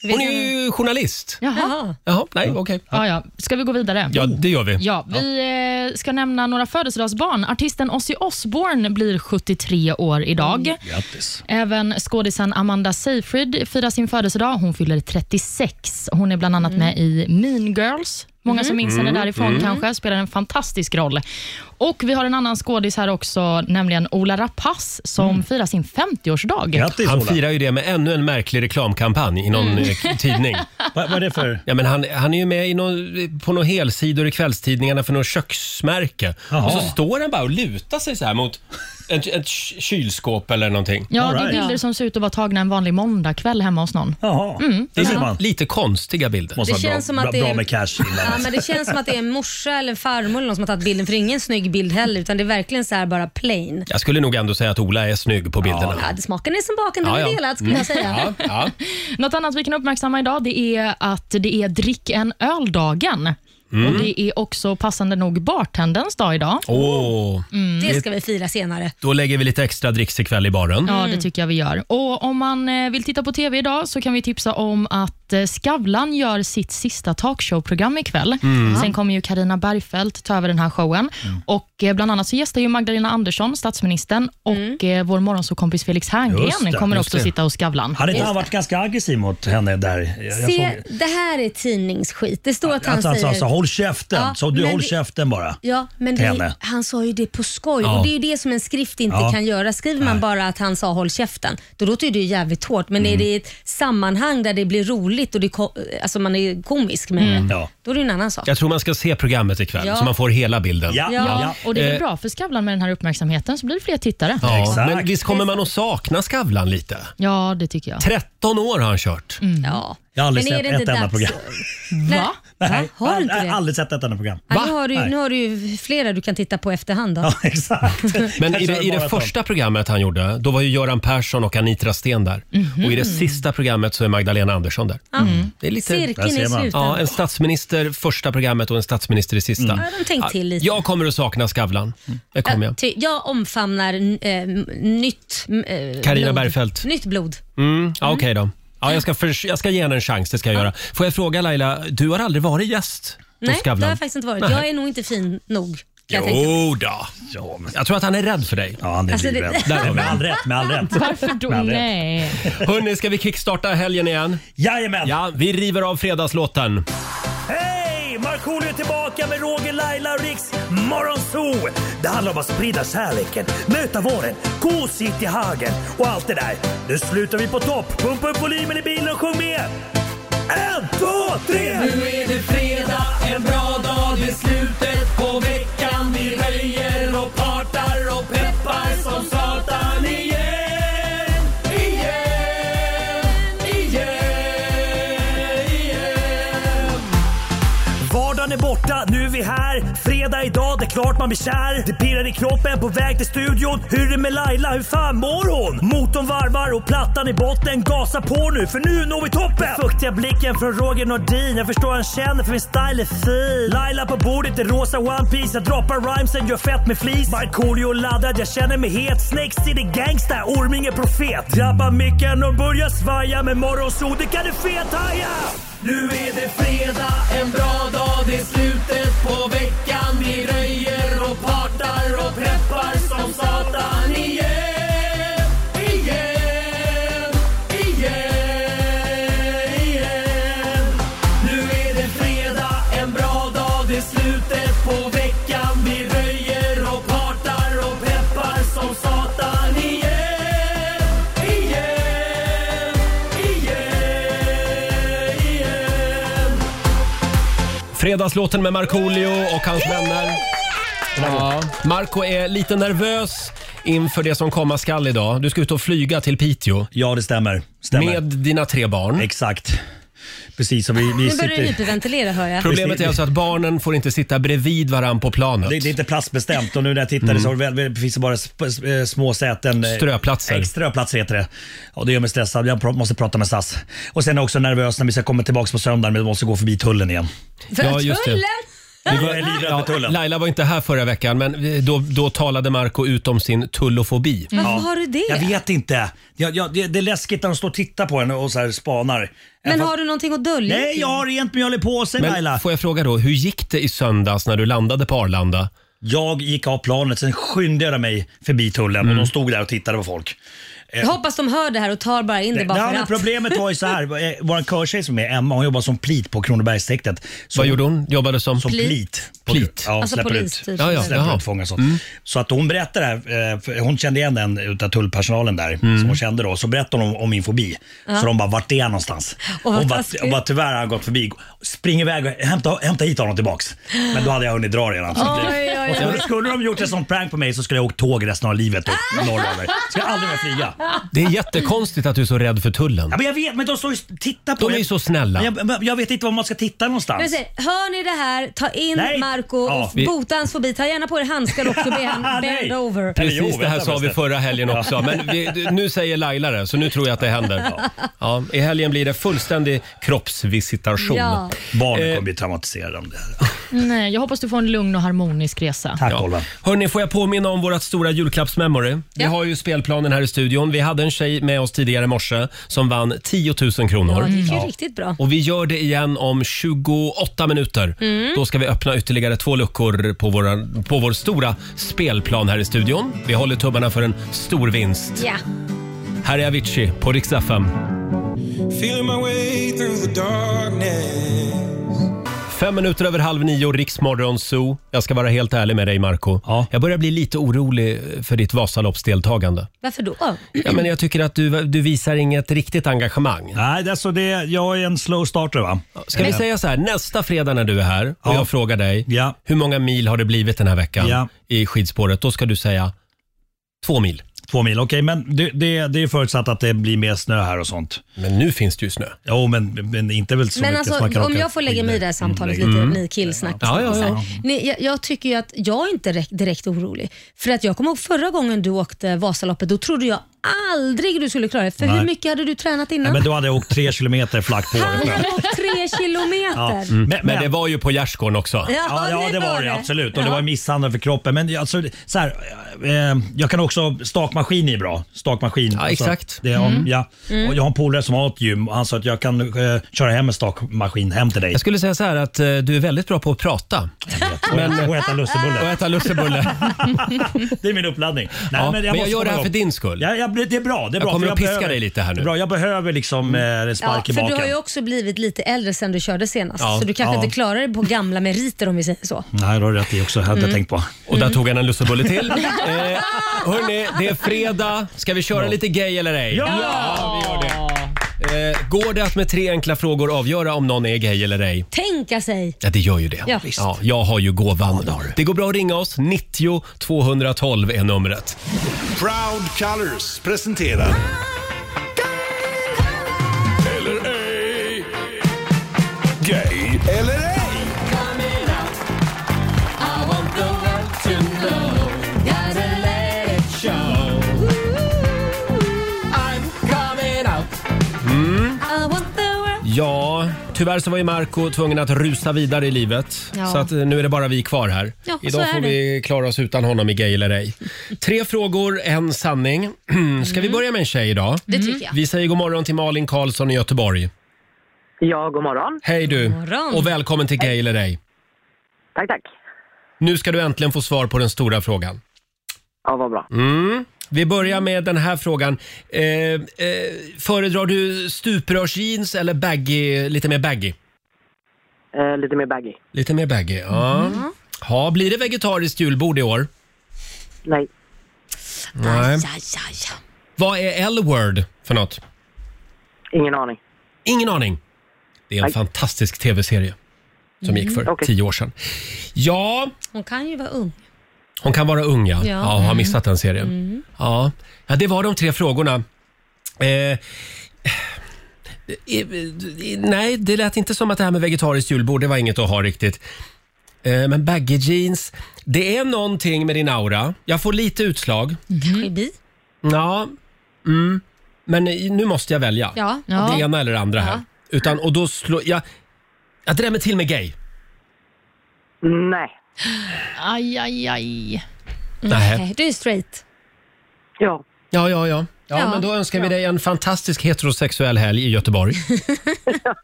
Hon är ju journalist.
Jaha.
Jaha, nej, okej.
Ja, ja. Ska vi gå vidare?
Ja, det gör vi.
Ja, vi eh, ska nämna några födelsedagsbarn. Artisten Ozzy Osbourne blir 73 år idag.
Grattis.
Även skådisen Amanda Seyfried firar sin födelsedag. Hon fyller 36. Hon är bland annat
Mm.
med i Mean Girls. Många som minns henne
Mm.
därifrån
Mm.
kanske. Spelar en fantastisk roll. Och Vi har en annan skådis här också, nämligen Ola Rapace som firar sin 50-årsdag.
han firar ju det med ännu en märklig reklamkampanj i någon
Mm.
eh, tidning.
Vad är det för?
Ja, men han, han är ju med i någon, på några helsidor i kvällstidningarna för något köksmärke.
Jaha.
Och så står han bara och lutar sig så här mot ett, ett k- kylskåp eller någonting.
Ja, det är bilder som ser ut att vara tagna en vanlig måndagkväll hemma hos någon. Mm.
Det är lite, lite konstiga bilder.
Måste Det vara bra- känns som att bra- det är- bra med
cash
Ja, men det känns som att det är en morsa eller en farmor eller någon som har tagit bilden, för det är ingen snygg bild heller, utan det är verkligen så här bara plain.
(laughs) Jag skulle nog ändå säga att Ola är snygg på bilderna.
Ja, det smaken är som baken, den är delad skulle
Mm.
jag säga.
Ja, ja.
Något annat vi kan uppmärksamma idag det är att det är drick en öl-dagen.
Mm.
Och det är också passande nog bartendens dag idag. Mm.
Åh.
Det ska vi fira senare.
Då lägger vi lite extra dricks ikväll i baren.
Ja,
Mm.
det tycker jag vi gör. Och Om man eh, vill titta på TV idag så kan vi tipsa om att eh, Skavlan gör sitt sista talkshowprogram ikväll.
Mm.
Sen kommer ju Karina Bergfeldt ta över den här showen.
Mm.
Och eh, Bland annat så gästar ju Magdalena Andersson, statsministern,
Mm.
och eh, vår morgonsåkompis Felix
Just
Herngren
det,
kommer
just
också
det.
sitta hos Skavlan.
Hade inte
Just
han
det.
varit ganska aggressiv mot henne där? Jag, jag såg
Se, det här är tidningsskit. Det står att han
alltså,
att han
säger...
sa så, håll käften.
Ja,
så du
men
håll
det-
käften bara.
Ja, men
till
det,
henne.
han sa ju det på skoj
Ja.
och det är ju det som en skrift inte
Ja.
kan göra. Skriver man bara att han sa håll käften, då låter ju det jävligt hårt. Men
Mm.
är det i ett sammanhang där det blir roligt och det, ko- alltså man är komisk med
Mm.
det,
Ja.
då är det ju en annan sak.
Jag tror man ska se programmet ikväll
Ja.
så man får hela bilden.
Ja, och det är väl
Eh,
bra för Skavlan med den här uppmärksamheten så blir det fler tittare.
Ja, men visst kommer man att sakna Skavlan lite?
Ja, det tycker jag. Mm.
13 år har han kört.
Ja.
Jag har aldrig
Men är
sett
det inte
ett enda
dags-
program.
Va?
Nej,
Har du inte
jag
det?
har aldrig sett ett enda program.
Ja, nu, har du, ju-
Nej.
nu har du ju flera du kan titta på efterhand. Då.
Ja, (laughs)
(laughs)
exakt.
(laughs) Men i
Kanske
det, i det
maraton.
första programmet han gjorde, då var ju Göran Persson och Anitra Steen där.
Mhm.
Och i det sista programmet så är Magdalena Andersson där.
Ja.
Mm. Det är lite...
Cirkeln är sluten.
Ja, en statsminister första programmet och en statsminister i sista.
Mm. Ja, de tänkte till lite. Mm.
Jag kommer att sakna Skavlan. Eh, Det kommer jag.
ty- jag omfamnar eh, nytt eh,
Carina
blod.
Bergfeldt.
Nytt blod.
Mm, ja, okej då. Ja, jag, ska för, jag ska ge henne en chans, det ska jag göra. Får jag fråga Laila, du har aldrig varit gäst
Nej,
hos
det
Skavlan?
har jag faktiskt inte varit.
Nej.
Jag är nog inte fin nog. Kan jag tänka. mig.
Jo då. Jag tror att han är rädd för dig.
Ja, han
är Alltså, det- livrädd.
Där har vi.
Med all rätt, med all
(laughs)
rätt.
Varför då?
Med all rätt.
Nej.
Hörni, ska vi kickstarta helgen igen?
Jajamän!
Ja, vi river av fredagslåten.
Hej! Markoolio är tillbaka med Roger, Laila och Riks Morgonzoo! Det handlar om att sprida kärleken, möta våren, gosigt i hagen och allt det där. Nu slutar vi på topp! Pumpa upp volymen i bilen och sjung med! En, två, tre!
Nu är det fredag, en bra dag, det är slutet på veckan. Vi röjer och partar och peppar som satan igen. Igen, igen, igen.
Vardagen
är borta, nu är vi här. Fredag idag, det är klart man blir kär. Det pirrar i kroppen på väg till studion. Hur är det med Laila, hur fan mår hon? Motorn varvar och plattan i botten. Gasa på nu, för nu når vi toppen! Den Fuktiga blicken från Roger Nordin. Jag förstår han känner för min style är fin. Laila på bordet i rosa One Piece Jag droppar rhymesen, gör fett med flis. Markoolio laddad, jag känner mig het. Snakes city gangsta, Orminge profet. Drabbar micken och börjar svaja. Med morgonsol, det kan du fethaja!
Nu är det fredag, en bra dag, det är slutet på veckan. Vi röjer och partar och preppar som satan igen. Igen, igen, igen. Nu är det fredag, en bra dag, det är slutet på veckan. Vi röjer och partar och peppar som satan igen. Igen, igen, igen.
Fredagslåten med Markoolio och hans vänner. Ja. Marco är lite nervös inför det som komma skall idag. Du ska ut och flyga till Piteå.
Ja, det stämmer. stämmer.
Med dina tre barn.
Exakt. Precis som vi, vi
Nu börjar du
sitter...
hyperventilera hör jag.
Problemet är alltså att barnen får inte sitta bredvid varann på planet.
Det, det är inte platsbestämt och nu när jag tittade
Mm.
så var det väl- väl- finns det bara sp- sp- eh, små säten. eh,
Ströplatser.
Ströplatser heter det. Och det gör mig stressad. Jag pr- måste prata med SAS. Och sen är jag också nervös när vi ska komma tillbaka på söndagen men vi måste gå förbi tullen igen.
Ja, just det. Vi var-
tullen.
Laila var inte här förra veckan, men vi- då, då talade Marco ut om sin tullofobi.
Varför har du det?
Jag vet inte. Jag, jag, det, det är läskigt när de står och tittar på en och så här spanar.
Men
Även
har du någonting att dölja?
Nej, jag har rent mjöl i påsen
Men
Laila.
får jag fråga då, hur gick det i söndags när du landade på Arlanda?
Jag gick av planet, sen skyndade jag mig förbi tullen
Mm.
och de stod där och tittade på folk. Eh,
Jag hoppas de hör det här och tar bara in det bara
Nej,
för
men
att.
problemet var
(laughs)
ju så här. eh, Vår körtjej som är Emma, hon jobbar som plit på Kronobergshäktet. Så-
Vad gjorde hon? Jobbade som?
Som
Plit?
plit. På-
Plit?
Ja,
Alltså
släpper
polis,
ut,
typ. Ja, ja,
släpper
jaha. Mm.
ut fångar och sånt. Så att hon berättar det här, eh, för hon kände igen den utav tullpersonalen där,
Mm.
som hon kände då. Så berättar hon om, om min fobi.
Ja.
Så de bara, vart är han någonstans?
Åh, vad
hon, bara,
taskigt.
hon bara, tyvärr har han gått förbi. Spring iväg och hämta, hämta hit honom tillbaks. Men då hade jag hunnit dra redan. Så att det-
Oj, oj,
och
oj.
skulle, skulle de gjort ett sånt prank på mig så skulle jag åkt tåg resten av livet
Ah!
upp norröver. Ska jag aldrig mer flyga.
Det är jättekonstigt att du är så rädd för tullen.
Ja, men jag vet, men de står ju och tittar på
De är ju så snälla.
Men Jag, men jag vet inte var man ska titta någonstans.
Men säg, hör ni det här, ta in
Nej.
Marco
Ja,
och
vi-
bota hans fobi. Ta gärna på er handskar också och
(laughs)
be han bend over.
Precis det här sa vi förra helgen också. Men vi, du- nu säger Laila det, så nu tror jag att det händer. Ja, I helgen blir det fullständig kroppsvisitation. Eh,
Ja.
Barnen kommer bli traumatiserade om det här.
Nej, jag hoppas du får en lugn och harmonisk resa.
Tack
Ja. Hörni, får jag påminna om vårt stora julklappsmemory? Vi har ju spelplanen här i studion. Vi hade en tjej med oss tidigare i morse som vann 10 000 kronor.
Ja, det gick ju
Ja.
riktigt bra.
Och vi gör det igen om 28 minuter.
Mm.
Då ska vi öppna ytterligare två luckor på, våra, på vår stora spelplan här i studion. Vi håller tummarna för en stor vinst.
Ja.
Här är Avicii på Rix FM.
Feel my way through the darkness.
Fem minuter över halv nio, Riksmorgon Zoo. Jag ska vara helt ärlig med dig, Marco. Jag börjar bli lite orolig för ditt Vasaloppsdeltagande.
Varför då?
Ja, men jag tycker att du, du visar inget riktigt engagemang.
Nej, alltså det, jag är en slow starter va.
Ska vi
Eh,
säga så här, nästa fredag när du är här och
Ja.
jag frågar dig hur många mil har det blivit den här veckan
Ja.
i skidspåret, då ska du säga två mil.
Två mil, okej. men det, det, det är förutsatt att det blir mer snö här och sånt.
Men nu finns det ju snö.
Jo, men, men inte väl så
Men
mycket som man kan
alltså, om
åka
jag får lägga mig i det här samtalet
Mm.
lite,
Mm.
ni killsnack.
Ja, ja, ja.
Ni, jag, jag tycker ju att jag är inte direkt, direkt orolig. För att jag kommer ihåg förra gången du åkte Vasaloppet, då trodde jag aldrig du skulle klara det. För
Nej.
hur mycket hade du tränat innan?
Nej, men då hade jag åkt tre kilometer flack på året.
(laughs) Han hade åkt tre kilometer.
Ja.
Ja.
Mm. Men,
Men- men-
det var ju på gärdsgården också.
Ja, ja det var det absolut. Och det var misshandel för kroppen. Men alltså, så här, eh, jag kan också, stakmaskin är bra. Stakmaskin. Ja,
exakt.
Det, om,
Mm.
ja.
Mm.
Och jag har en polare som har ett gym och han sa att jag kan eh, köra hem en stakmaskin hem till dig.
Jag skulle säga så här att eh, du är väldigt bra på att prata. Men,
och äta lussebulle.
(laughs) Och äta lussebulle.
(laughs) det är min uppladdning. Nej,
Ja, men jag
måste
gör det
komma
här för
ihåg.
din skull.
Ja, jag, det är bra. Det är
Jag
bra
kommer
för
att piska
behöver-
dig lite här nu.
det är Bra, jag behöver liksom eh, en
Ja,
spark i
för du har
baken.
ju också blivit lite äldre sen du körde senast,
Ja.
så du kanske
Ja.
inte klarar dig på gamla meriter om vi säger så.
Nej, det har du rätt i också. hade
Mm.
jag tänkt på.
Och där tog han en lussebulle till. Eh, hörni, det är fredag. Ska vi köra lite gay eller ej?
Ja!
vi gör det. Eh, går det att med tre enkla frågor avgöra om någon är gay eller ej?
Tänka sig.
Ja, det gör ju det.
Ja.
Ja, jag har ju gåvan. det går bra att ringa oss. 90 212 är numret.
Proud Colors presenterar... Eller ej. Gay eller ej.
Mm. Ja, tyvärr så var ju Marco tvungen att rusa vidare i livet.
Ja.
Så att eh, nu är det bara vi kvar här.
Ja, så
Idag
är
får
det.
vi klara oss utan honom i Gay eller ej. Tre frågor, en sanning. (clears throat) Ska vi börja med en tjej idag?
Mm. Det tycker jag.
Vi säger god morgon till Malin Karlsson i Göteborg.
Ja, god morgon.
Hej du!
morgon.
Och välkommen till Gay eller ej.
Tack, tack.
Nu ska du äntligen få svar på den stora frågan.
Ja, vad bra.
Mm. Vi börjar med den här frågan. Eh, eh, föredrar du stuprörsjeans eller baggy, lite mer baggy?
Eh, lite mer baggy.
Lite mer baggy, ja.
Mm.
Ja, blir det vegetariskt julbord i år?
Nej.
Nej. Vad är L-word för något?
Ingen aning.
Ingen aning. Det är en
Nej.
fantastisk tv-serie som
Mm.
gick för
Okej.
tio år sedan. Ja,
Hon kan ju vara ung.
hon kan vara ung ja.
Ja.
Ja, har missat den serien.
Mm.
Ja. ja, det var de tre frågorna. Eh, eh, eh, nej, det lät inte som att det här med vegetariskt julbord, det var inget att ha riktigt. Eh, men baggy jeans, det är någonting med din aura. Jag får lite utslag.
Kanske bi.
Ja, mm. men i- nu måste jag välja.
Ja. Ja.
Det ena eller det andra här. Utan, och då slår jag... Jag drämmer till med gay.
Nej.
Aj, aj, aj.
Nähä.
Nej, Du är straight.
Ja.
Ja, ja, ja. Ja,
Ja.
men då önskar vi dig en fantastisk heterosexuell helg i
(laughs)
Göteborg.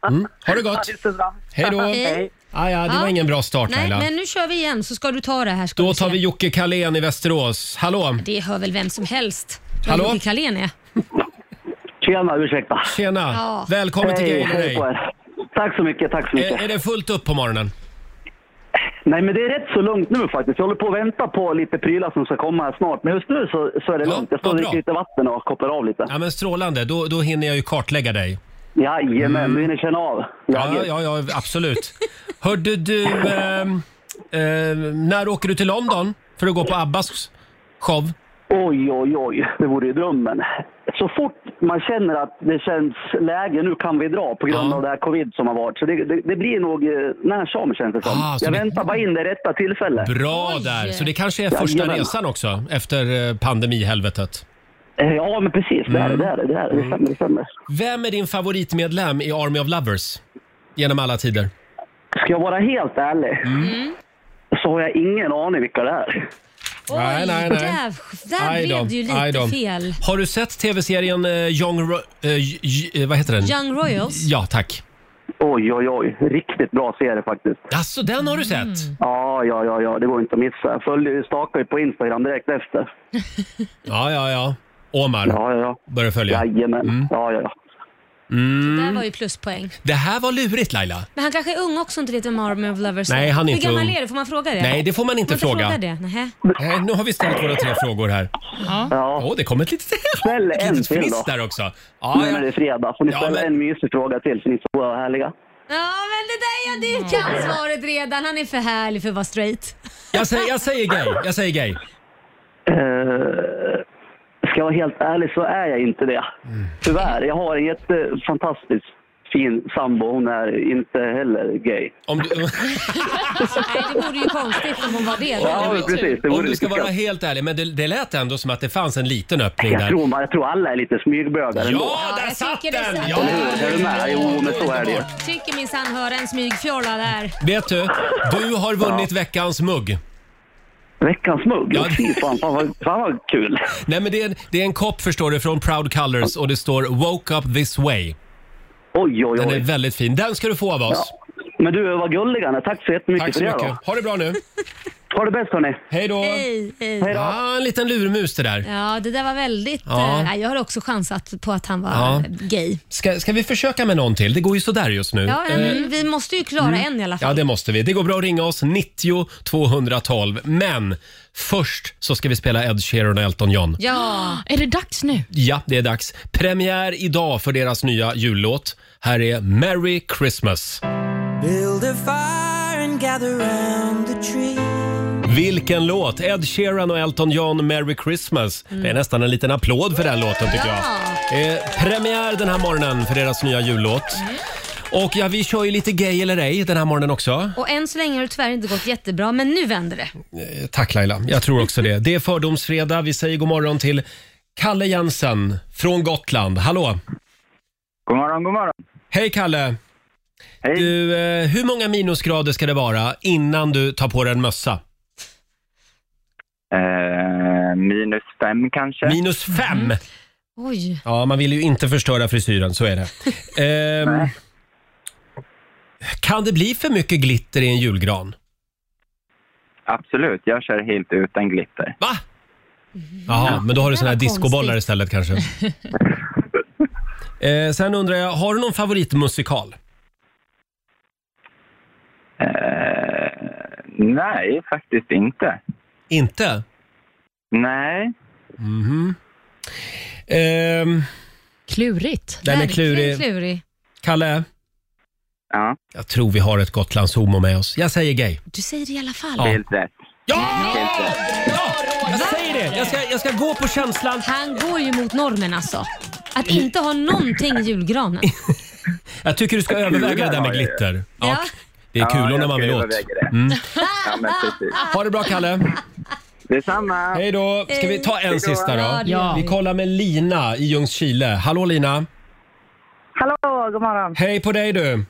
Mm. Ha det gott! Hej då!
Hej.
Ah, ja, det
Ja.
var ingen bra start
Nej,
Laila.
men nu kör vi igen så ska du ta det här. Ska
Då
du
tar
se.
vi Jocke Kalén i Västerås. Hallå!
Det hör väl vem som helst. vem
Hallå?
Jocke Kalén är.
Tjena, ursäkta.
Tjena!
Ja.
Välkommen till
Hej,
Gay eller
hej
ej.
på er. Tack så mycket, tack så mycket.
Är, är det fullt upp på morgonen?
Nej, men det är rätt så lugnt nu faktiskt. Jag håller på att vänta på lite prylar som ska komma här snart. Men just nu så, så är det lugnt. Jag står och dricker lite vatten och kopplar av lite.
Ja, men strålande. Då, då hinner jag ju kartlägga dig.
Jajamän,
Mm.
du hinner känna av
Ja,
läget.
ja, ja absolut. (laughs) Hörde du, ehm, ehm, när åker du till London för att gå på Abbas show?
Oj, oj, oj. Det vore ju drömmen. Så fort man känner att det känns läge, nu kan vi dra på grund av det här covid som har varit. Så det, det, det blir nog eh, när som känns det som.
Ah, så
jag
det-
väntar bara in det rätta tillfället.
Bra där! Så det kanske är första
Jajamän.
resan också efter eh, pandemihelvetet.
Eh, Ja, men precis. Det är det, det är det. Det, är det. det stämmer, det stämmer.
Vem är din favoritmedlem i Army of Lovers genom alla tider? Mm.
Ska jag vara helt ärlig
Mm.
så har jag ingen aning vilka det är.
Oj,
Nej, nej, nej.
Där, där
Aj då,
blev det ju
aj
lite
då.
fel.
Har du sett tv-serien eh, Young... Ro- eh, j- j- eh, vad heter den?
Young Royals?
Ja, tack.
Oj, oj, oj. Riktigt bra serie faktiskt.
Alltså, den har du sett?
Ja, ja, ja, ja. Det går inte att missa. Jag följde ju stakade ju på Instagram direkt efter.
Ja, ja, ja. Omar
ja, ja, ja.
börjar följa.
Jajamän. Ja, ja, ja.
Det där
Mm.
var ju pluspoäng.
Det här var lurigt Laila.
Men han kanske är ung också och inte vet vem Army of Lovers är.
Nej, han är
Hur
inte
gammal
ung.
är du? Får man fråga det?
Nej, det får man inte fråga.
Får det? Nähä.
Nej, nu har vi ställt våra tre frågor här.
Ja.
Åh, det kom ett litet,
Ställ
ett
en
litet
till
fniss
då.
där också. Ja,
nu
ja.
när det är fredag får ni
Ja,
ställa
men-
en mysig fråga till, för ni är så oerhört härliga.
Ja, men det där ja, du kan svaret redan. Han är för härlig för att vara straight. (laughs)
Jag, säger, jag säger gay. Jag säger gay.
Eh, ska jag vara helt ärlig så är jag inte det.
Mm.
Tyvärr. Jag har en jättefantastisk fin sambo. Hon är inte heller gay.
Om du...
Nej, det vore ju konstigt om hon var det.
Ja, men precis. Det vore
Om du
lite
ska vara
skumt.
helt ärlig, men det, det lät ändå som att det fanns en liten öppning
Jag
där.
tror, man, jag tror alla är lite smygbögar ändå.
Ja, där satt den!
Eller hur? Är du
Ja.
med? Jo, men så är det ju.
Tycker minsann höra en smygfjolla där.
Vet du, du har vunnit veckans mugg.
Veckans mugg? Ja. Fy fan, fan, vad, fan vad kul.
Nej, men det är, en, det är en kopp förstår du från Proud Colors och det står “Woke up this way”.
Oj, oj,
Den är väldigt fin. Den ska du få av oss.
Men du, vad gullig han är. Tack så jättemycket
Tack så
för det.
mycket. Ha det bra nu.
Ha det bäst hörni.
Hej då.
Hej, hej.
Ja, en liten lurmus det där.
Ja, det där var väldigt...
Ja.
eh, nej, jag har också chansat på att han var
Ja.
gay.
Ska, ska vi försöka med någon till? Det går ju sådär just nu.
Ja,
Eh, mm.
men vi måste ju klara en i alla fall.
Ja, det måste vi. Det går bra att ringa oss, 90 212. Men först så ska vi spela Ed Sheeran och Elton John.
Ja.
Är det dags nu?
Ja, det är dags. Premiär idag för deras nya jullåt. Här är Merry Christmas.
Build a fire and gather round the tree.
Vilken låt! Ed Sheeran och Elton John, Merry Christmas. Det är nästan en liten applåd för den låten tycker jag. Eh, premiär den här morgonen för deras nya jullåt. Och ja, vi kör ju lite gay eller ej den här morgonen också.
Och än så länge har det tyvärr inte gått jättebra, men nu vänder det.
Eh, Tack Laila, jag tror också det. Det är fördomsfredag. Vi säger god morgon till Kalle Jensen från Gotland. Hallå!
God morgon, god morgon.
Hej Kalle! Hej. Du, eh, hur många minusgrader ska det vara innan du tar på dig en mössa?
Eh, minus fem kanske. Mm.
Minus fem?
Oj.
Ja, man vill ju inte förstöra frisyren, så
(laughs)
är det. Ehm, kan det bli för mycket glitter i en julgran?
Absolut, jag kör helt utan glitter.
Va? Jaha, men då har du såna här discobollar istället kanske. eh, sen undrar jag, har du någon favoritmusikal?
Nej, faktiskt inte.
Inte?
Nej.
Mhm. Ehm,
Klurigt.
Den är klurig.
klurig.
Kalle?
Ja?
Jag tror vi har ett Gotlandshomo med oss. Jag säger gay.
Du säger det i alla fall.
Ja. Helt
rätt.
Ja! Jag säger det! Jag ska, jag ska gå på känslan.
Han går ju mot normen alltså. Att inte ha någonting i
(laughs)
julgranen.
Jag tycker du ska överväga det där med glitter. Ja. Det är
Ja,
kulorna
jag ska
man vill åt.
överväga det.
Mm.
Ja, men precis.
Ha det bra Kalle.
Detsamma.
Hej då. Ska vi ta
Eh,
en sista då?
Ja.
Vi kollar med Lina i Ljungskile. Hallå Lina.
Hallå, god morgon.
Hej på dig du.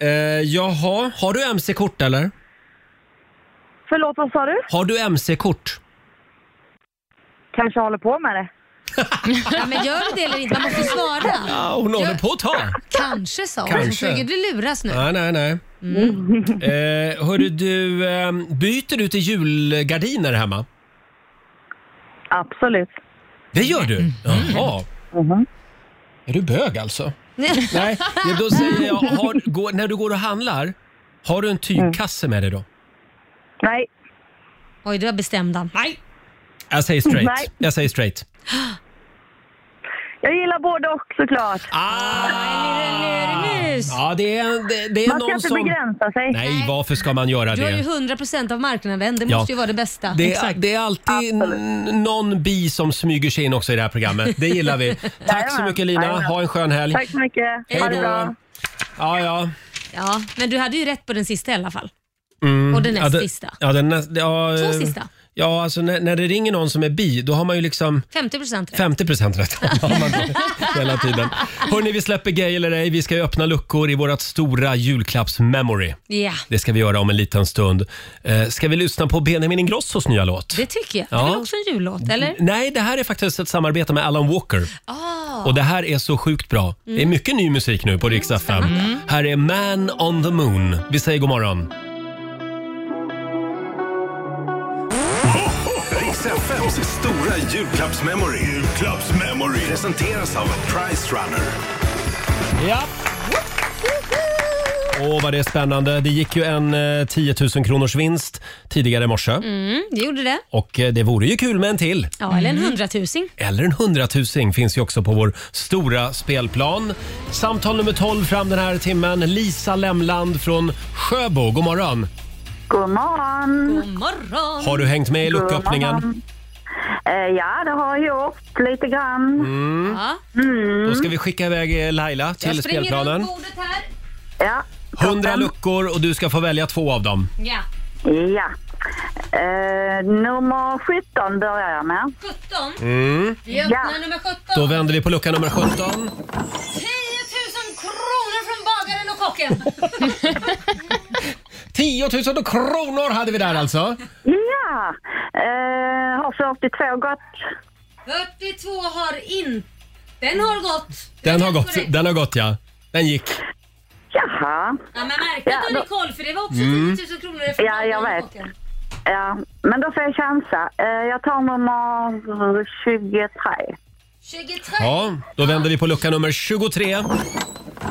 Eh, jaha, har du mc-kort eller?
Förlåt, vad sa du?
Har du mc-kort?
Kanske håller på med det.
(laughs) Ja, men gör du det eller inte? Man måste svara.
Ja, hon håller
Gör-
på att ta.
Kanske sa hon.
Kanske.
Kanske. Försöker du luras nu?
Nej, nej, nej. Eh, hörru du, eh, byter du till julgardiner hemma?
Absolut.
Det gör du? Jaha. Är du bög alltså? Nej, ja, då säger jag, har, går, när du går och handlar, har du en tygkasse med dig då?
Nej.
Oj, du har bestämd han.
Nej. Jag säger straight.
Nej.
Jag säger straight.
Jag gillar både och såklart.
Ah! Ja, det är, en- det, det är
Man ska
någon
inte
som...
begränsa sig.
Nej, varför ska man göra
Du har ju
det?
100% av marknaden. Det
Ja.
måste ju vara det bästa.
Det är, det är alltid n- någon bi som smyger sig in också i det här programmet. Det gillar vi. Tack så
Jajamän.
mycket Lina.
Jajamän.
Ha en skön helg.
Tack så mycket.
Hej
Ha det
då.
bra.
Ja, ja.
Ja, men du hade ju rätt på den sista i alla fall.
Mm.
Och den näst
ja, det-
sista.
Ja, den näst, ja,
Två
eh,
sista.
Ja, alltså när, när det ringer någon som är bi, då har man ju liksom
50% rätt.
50
(laughs)
procent rätt. har man då hela tiden. Hörni, vi släpper gay eller ej. Vi ska ju öppna luckor i vårt stora julklappsmemory.
Ja,
Det ska vi göra om en liten stund. Eh, Ska vi lyssna på Benjamin Ingrossos nya låt?
det tycker jag.
Ja.
Det är väl också en jullåt, eller?
Nej, det här är faktiskt ett samarbete med Alan Walker.
Ah.
Och det här är så sjukt bra.
Mm.
Det är mycket ny musik nu på Rix FM. Här är Man on the Moon. Vi säger god morgon.
Riks FMs stora julklappsmemory. Julklappsmemory. Presenteras av Price Runner.
Ja. Åh, vad det är spännande. Det gick ju en eh, 10 000 kronors vinst tidigare i morse.
Mm, det gjorde det.
Och eh, det vore ju kul med en till.
Ja, eller en
Mm.
hundratusing.
Eller en hundratusing finns ju också på vår stora spelplan. Samtal nummer 12 fram den här timmen. Lisa Lemland från Sjöbo. God morgon!
God morgon.
God morgon.
Har du hängt med i
God
lucköppningen?
morgon. Eh, ja, det har jag gjort lite grann.
Mm. Då
Mm.
ska vi skicka iväg eh, Laila till spelplanen.
bordet här.
Ja.
100 luckor och du ska få välja två av dem.
Ja.
Ja. Eh, nummer 17 börjar jag med.
17?
Mm.
Vi öppnar nummer 17.
Då vänder vi på lucka nummer
10
17.
000 kronor från bagaren och kocken.
10 000 kronor hade vi där alltså.
Ja. Eh, har 42 gått.
42 har in... Den har gått.
Den har gått, den har gått ja. Den gick.
Jaha.
Ja, men märk att du hade koll för det var också
Mm.
10 000 kronor från
Ja, jag
bagaren och
vet.
kocken.
Ja, men då får jag chansa. Eh, jag tar nummer 23.
23.
Ja, då vänder vi på lucka nummer 23.
10 000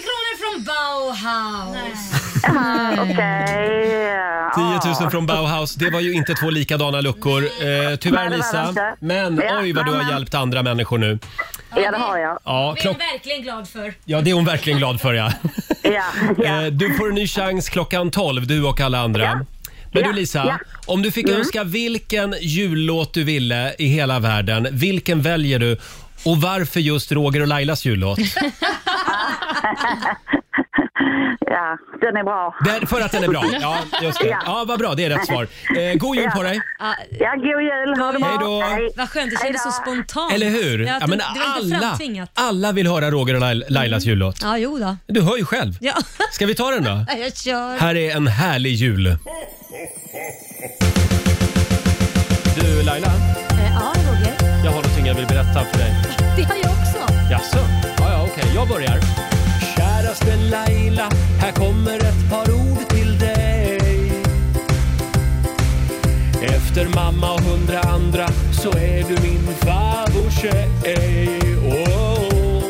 kronor från Bauhaus.
Ah, Okej.
10 000 från Bauhaus. Det var ju inte två likadana luckor. Eh, tyvärr
det var det
Lisa.
inte.
Men
Ja,
oj vad du
men,
har
men.
hjälpt andra människor nu.
Ja, det har jag.
Ja,
Det är
klock-
jag verkligen glad för.
ja det är hon verkligen glad för ja. Eh, Du får en ny chans klockan 12, du och alla andra. Men du Lisa, om du fick önska vilken jullåt du ville i hela världen, vilken väljer du? Och
(laughs)
varför just Roger och Lailas jullåt?
Ja, Ja, den är bra.
Där, för att den är bra. Ja, just det. Ja, vad bra. Det är rätt svar. Eh, god jul på dig.
Ja,
ja god jul. Ha det bra.
Hej då.
Vad skönt, det kändes så spontant.
Eller hur?
Ja,
Ja,
det,
men
det var inte
alla,
framtvingat. Mm.
alla vill höra Roger och Lail- Lailas jullåt.
Ja, jo då.
Du hör ju själv.
Ja.
(laughs) Ska vi ta den då?
Nej, Jag kör.
Här är en härlig jul. Du Laila,
Eh, Ja, Roger.
jag har någonting jag vill berätta för dig.
Det har jag också.
Jaså? Ja, ja, okej. Jag börjar.
Käraste Laila, här kommer ett par ord till dig. Efter mamma och hundra andra så är du min favorittjej. Oh,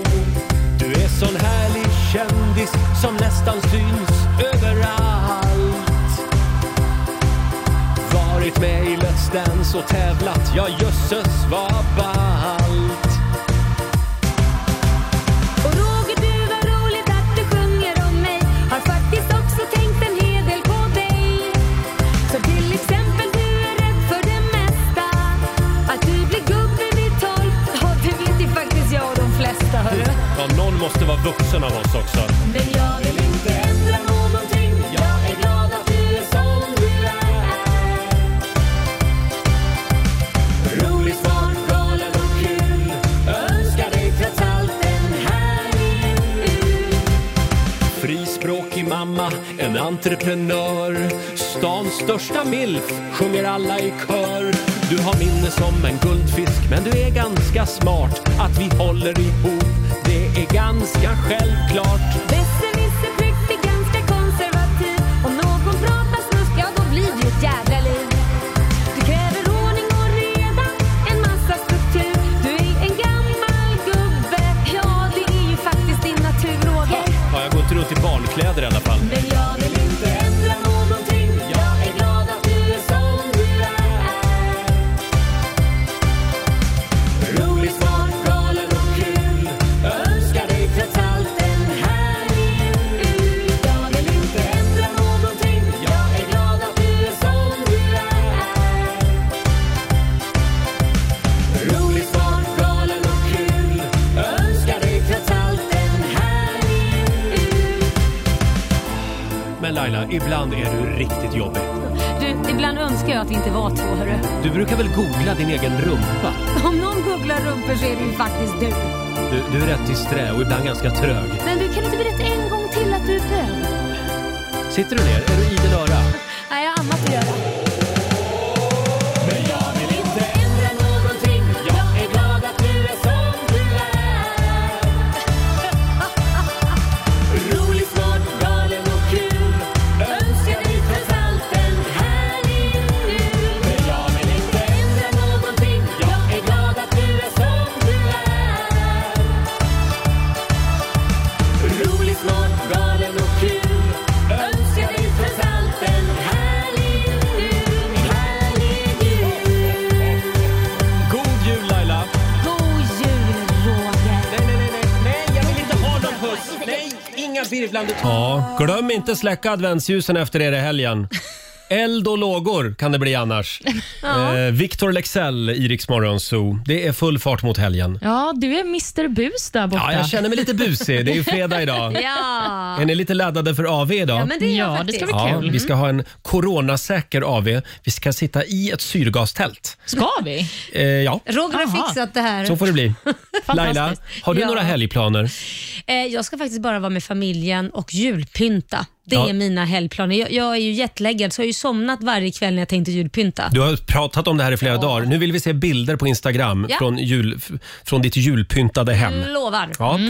du är sån härlig kändis som nästan syns överallt. Varit med i Let's Dance och tävlat, ja jösses vad ballt.
Och Roger du var roligt att du sjunger om mig Har faktiskt också tänkt en hel del på dig Så till exempel du är rädd för det mesta Att du blir gubbe vid tolv Ja det vet ju faktiskt jag och de flesta hörru
Ja, någon måste vara vuxen av oss också.
Men jag vill inte ändra någonting Jag är glad att du är som du är Rolig, smart, galen och kul Önskar dig trots allt en härlig jul
Frispråkig mamma, en entreprenör Stans största milf, sjunger alla i kör Du har minne som en guldfisk men du är ganska smart Att vi håller ihop, det är ganska självklart
Besserwisser prick, är ganska konservativ. Om någon pratar snusk, ja då blir det ett jävla liv. Du kräver ordning och reda, en massa struktur. Du är en gammal gubbe, ja det är ju faktiskt din natur, Roger.
Ja, jag går inte runt i barnkläder i alla fall.
Men jag vill inte ändra någonting, jag är glad att du är som du är. Rolig, smart, galen och kul. Önskar dig trots allt en härlig jul. Jag vill inte ändra någonting, jag är glad att du är som du är. Rolig, smart, galen och kul. Önskar dig trots allt en härlig jul.
Men Laila, ibland är du riktigt jobbig.
Du, ibland önskar jag att vi inte var två, hörru.
Du brukar väl googla din egen rumpa?
Om någon googlar rumpor så är det ju faktiskt du.
Du, du är rätt disträ och ibland ganska trög.
Men du kan inte berätta en gång till att du är bög?
Sitter du ner? Är du idel öra?
Nej, jag har annat att göra. Men jag vill inte ändra någonting. Jag är glad att du är som du är. Rolig, smart, galen och kul. Önskar dig trots allt en härlig jul. Men jag vill inte ändra någonting. Jag är glad att du är som du är. Rolig, smart, galen och kul. Önskar dig trots allt en härlig jul. Härlig jul.
God jul Laila!
God jul, Roger.
Nej, nej, nej, nej, nej, jag vill inte ha någon puss! Nej, inga virvlande
Ja, glöm inte släcka adventsljusen efter er i helgen. Eld och lågor kan det bli annars.
(laughs) Ja.
Eh, Victor Lexell i Rix Morgon Zoo. Det är full fart mot helgen.
Ja, du är Mr Bus där borta.
Ja, jag känner mig lite busig. Det är ju
(laughs)
fredag idag.
ja.
Är ni lite laddade för AV idag?
Ja, men det är jag Ja, det ska faktiskt. bli kul.
Vi ska ha en coronasäker AV. Vi ska sitta i ett syrgastält.
Ska vi?
Eh, ja,
Roger har
Jaha.
fixat det här.
så får
(laughs)
det bli. Laila, har du
Ja.
några helgplaner?
Eh, Jag ska faktiskt bara vara med familjen och julpynta. Det
Ja.
är mina helgplaner. Jag, jag är ju jetlaggad så jag har ju somnat varje kväll när jag tänkte julpynta.
Du har pratat om det här i flera dagar. Nu vill vi se bilder på Instagram
Ja.
från, jul, f- från ditt julpyntade hem.
Lovar.
Ja.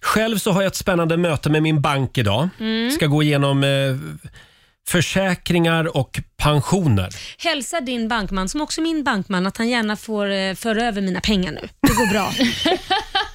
Själv så har jag ett spännande möte med min bank idag.
Mm.
Ska gå igenom eh, försäkringar och pensioner.
Hälsa din bankman, som också är min bankman, att han gärna får eh, föra över mina pengar nu. Det går
(laughs)
bra.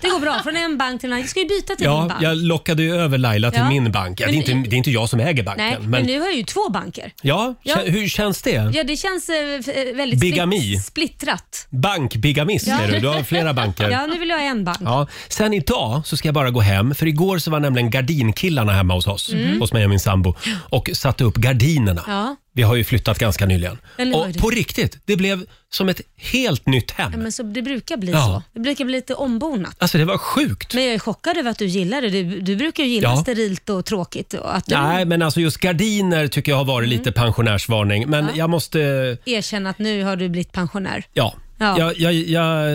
det går bra. Från en bank till en annan. Jag ska ju byta till din
Ja,
bank.
jag lockade ju över Laila till
Ja.
min bank. Ja, det, är inte,
Men-
det är inte jag som äger banken.
Nej, men,
men,
nu har jag ju två banker.
ja,
Ja.
kä- hur känns det?
Ja, det känns eh, f- eh, väldigt
Bigami.
split- splittrat.
Bankbigamist
Ja.
är du. Du har flera banker.
Ja, nu vill jag ha en bank.
Ja. Sen idag så ska jag bara gå hem, för igår så var nämligen gardinkillarna hemma hos oss,
Mm.
hos mig och min sambo, och satte upp gardinerna.
Ja.
Vi har ju flyttat ganska nyligen.
Eller hur?
Och på riktigt, det blev som ett helt nytt hem.
Ja, men så, det brukar bli
Ja.
så. Det brukar bli lite ombonat.
Alltså det var sjukt.
Men jag är chockad över att du gillar det. Du, du brukar ju gilla
Ja.
sterilt och tråkigt. Och att du
Nej, men alltså just gardiner tycker jag har varit lite pensionärsvarning. Men
Mm. Ja.
jag måste...
erkänner att nu har du blivit pensionär.
Ja.
Ja.
Jag, jag, jag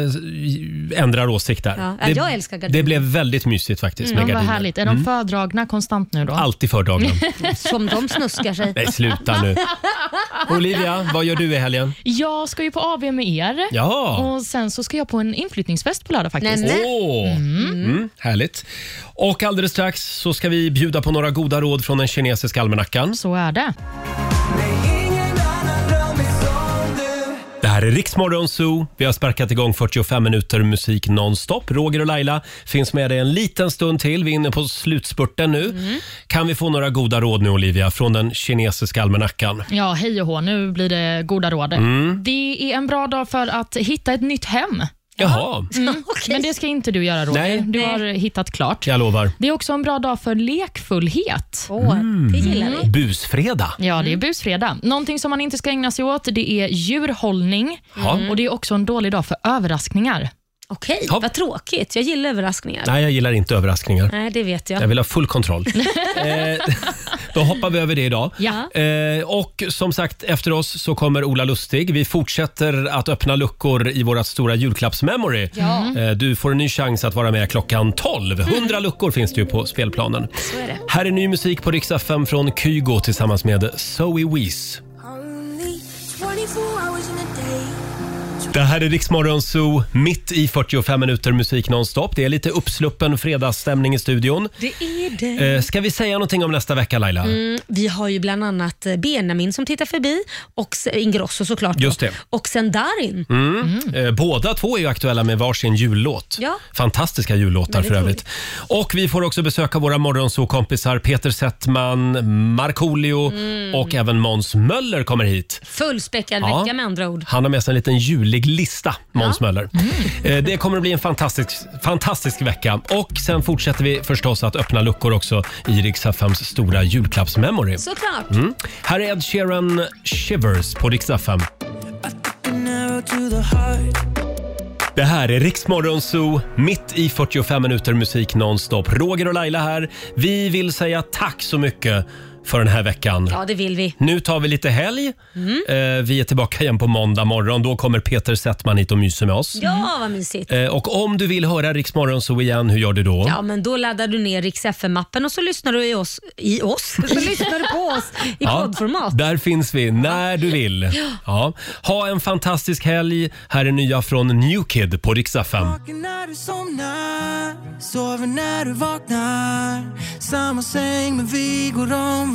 ändrar åsikt där.
Ja. Ja, jag älskar gardiner.
Det blev väldigt mysigt faktiskt
Mm,
med
vad
gardiner.
härligt. Är de
Mm.
fördragna konstant nu då?
Alltid fördragna.
(laughs)
Som (laughs) de snuskar sig.
Nej, sluta nu.
(laughs)
Olivia, vad gör du i helgen?
Jag ska ju på AV med er
Ja.
och sen så ska jag på en inflyttningsfest på lördag faktiskt.
Åh, Mm, härligt. Och alldeles strax så ska vi bjuda på några goda råd från den kinesiska almanackan.
Så är det.
Det här är Riksmorgon Zoo. Vi har sparkat igång 45 minuter musik nonstop. Roger och Laila finns med dig en liten stund till. Vi är inne på slutspurten nu.
Mm.
Kan vi få några goda råd nu Olivia från den kinesiska almanackan?
Ja, hej och hå. Nu blir det goda råd.
Mm.
Det är en bra dag för att hitta ett nytt hem.
(laughs)
Jaha.
Mm. Men det ska inte du göra Roger.
Nej.
Du har hittat klart.
Jag lovar.
Det är också en bra dag för lekfullhet. Mm.
Busfredag.
Ja,
Mm.
det är busfredag. Någonting som man inte ska ägna sig åt det är djurhållning.
Ja.
Och Det är också en dålig dag för överraskningar.
Okej, vad tråkigt. Jag gillar överraskningar.
Nej, jag gillar inte överraskningar.
Nej, Mm. det vet jag. (laughs)
Jag vill ha full kontroll. eh, då hoppar vi över det idag.
Ja.
Eh, och som sagt, efter oss så kommer Ola Lustig. Vi fortsätter att öppna luckor i vårt stora julklappsmemory.
Ja.
Eh, du får en ny chans att vara med klockan 12. 100 luckor finns det ju på spelplanen.
Så är det.
Här är ny musik på Rix FM från Kygo tillsammans med Zoe Wees. Det här är Riksmorgon Zoo, mitt i 45 minuter musik nonstop. Det är lite uppsluppen fredagsstämning i studion.
Det är det.
Eh, ska vi säga någonting om nästa vecka Laila?
Mm, vi har ju bland annat eh, Benjamin som tittar förbi och s- Ingrosso såklart. då.
Just det.
Och sen Darin.
Mm. Eh, båda två är ju aktuella med varsin jullåt.
Ja.
Fantastiska jullåtar
Väldigt
för övrigt. Och vi får också besöka våra morgonsåkompisar Peter Settman, Markoolio
Mm.
och även Måns Möller kommer hit.
Fullspäckad
Ja.
vecka med andra ord.
Han har med sig en liten julig lista, Måns Möller.
Mm.
Eh, Det kommer att bli en fantastisk, fantastisk vecka. Och sen fortsätter vi förstås att öppna luckor också i Rix FMs stora julklappsmemory.
Såklart.
Mm. Här är Ed Sheeran Shivers på Rix FM. Det här är Riksmorgon Zoo, mitt i 45 minuter musik nonstop. Roger och Laila här. Vi vill säga tack så mycket för den här veckan.
Ja, Mm. det vill vi.
Nu tar vi lite helg. Eh, vi är tillbaka igen på måndag morgon. Då kommer Peter Settman hit och myser med oss.
Ja, vad mysigt.
Mm. Eh, och om du vill höra Riksmorgon Zoo igen, hur gör du då?
Ja, men då laddar du ner Rix FM-appen och så lyssnar du i oss. I oss? Så lyssnar du på oss i
Ja,
poddformat.
Där finns vi när du vill. Ja. Ha en fantastisk helg. Här är nya från New Kid på riksdag 5.
Vaken när du somnar, sover när du vaknar. Samma säng men vi går om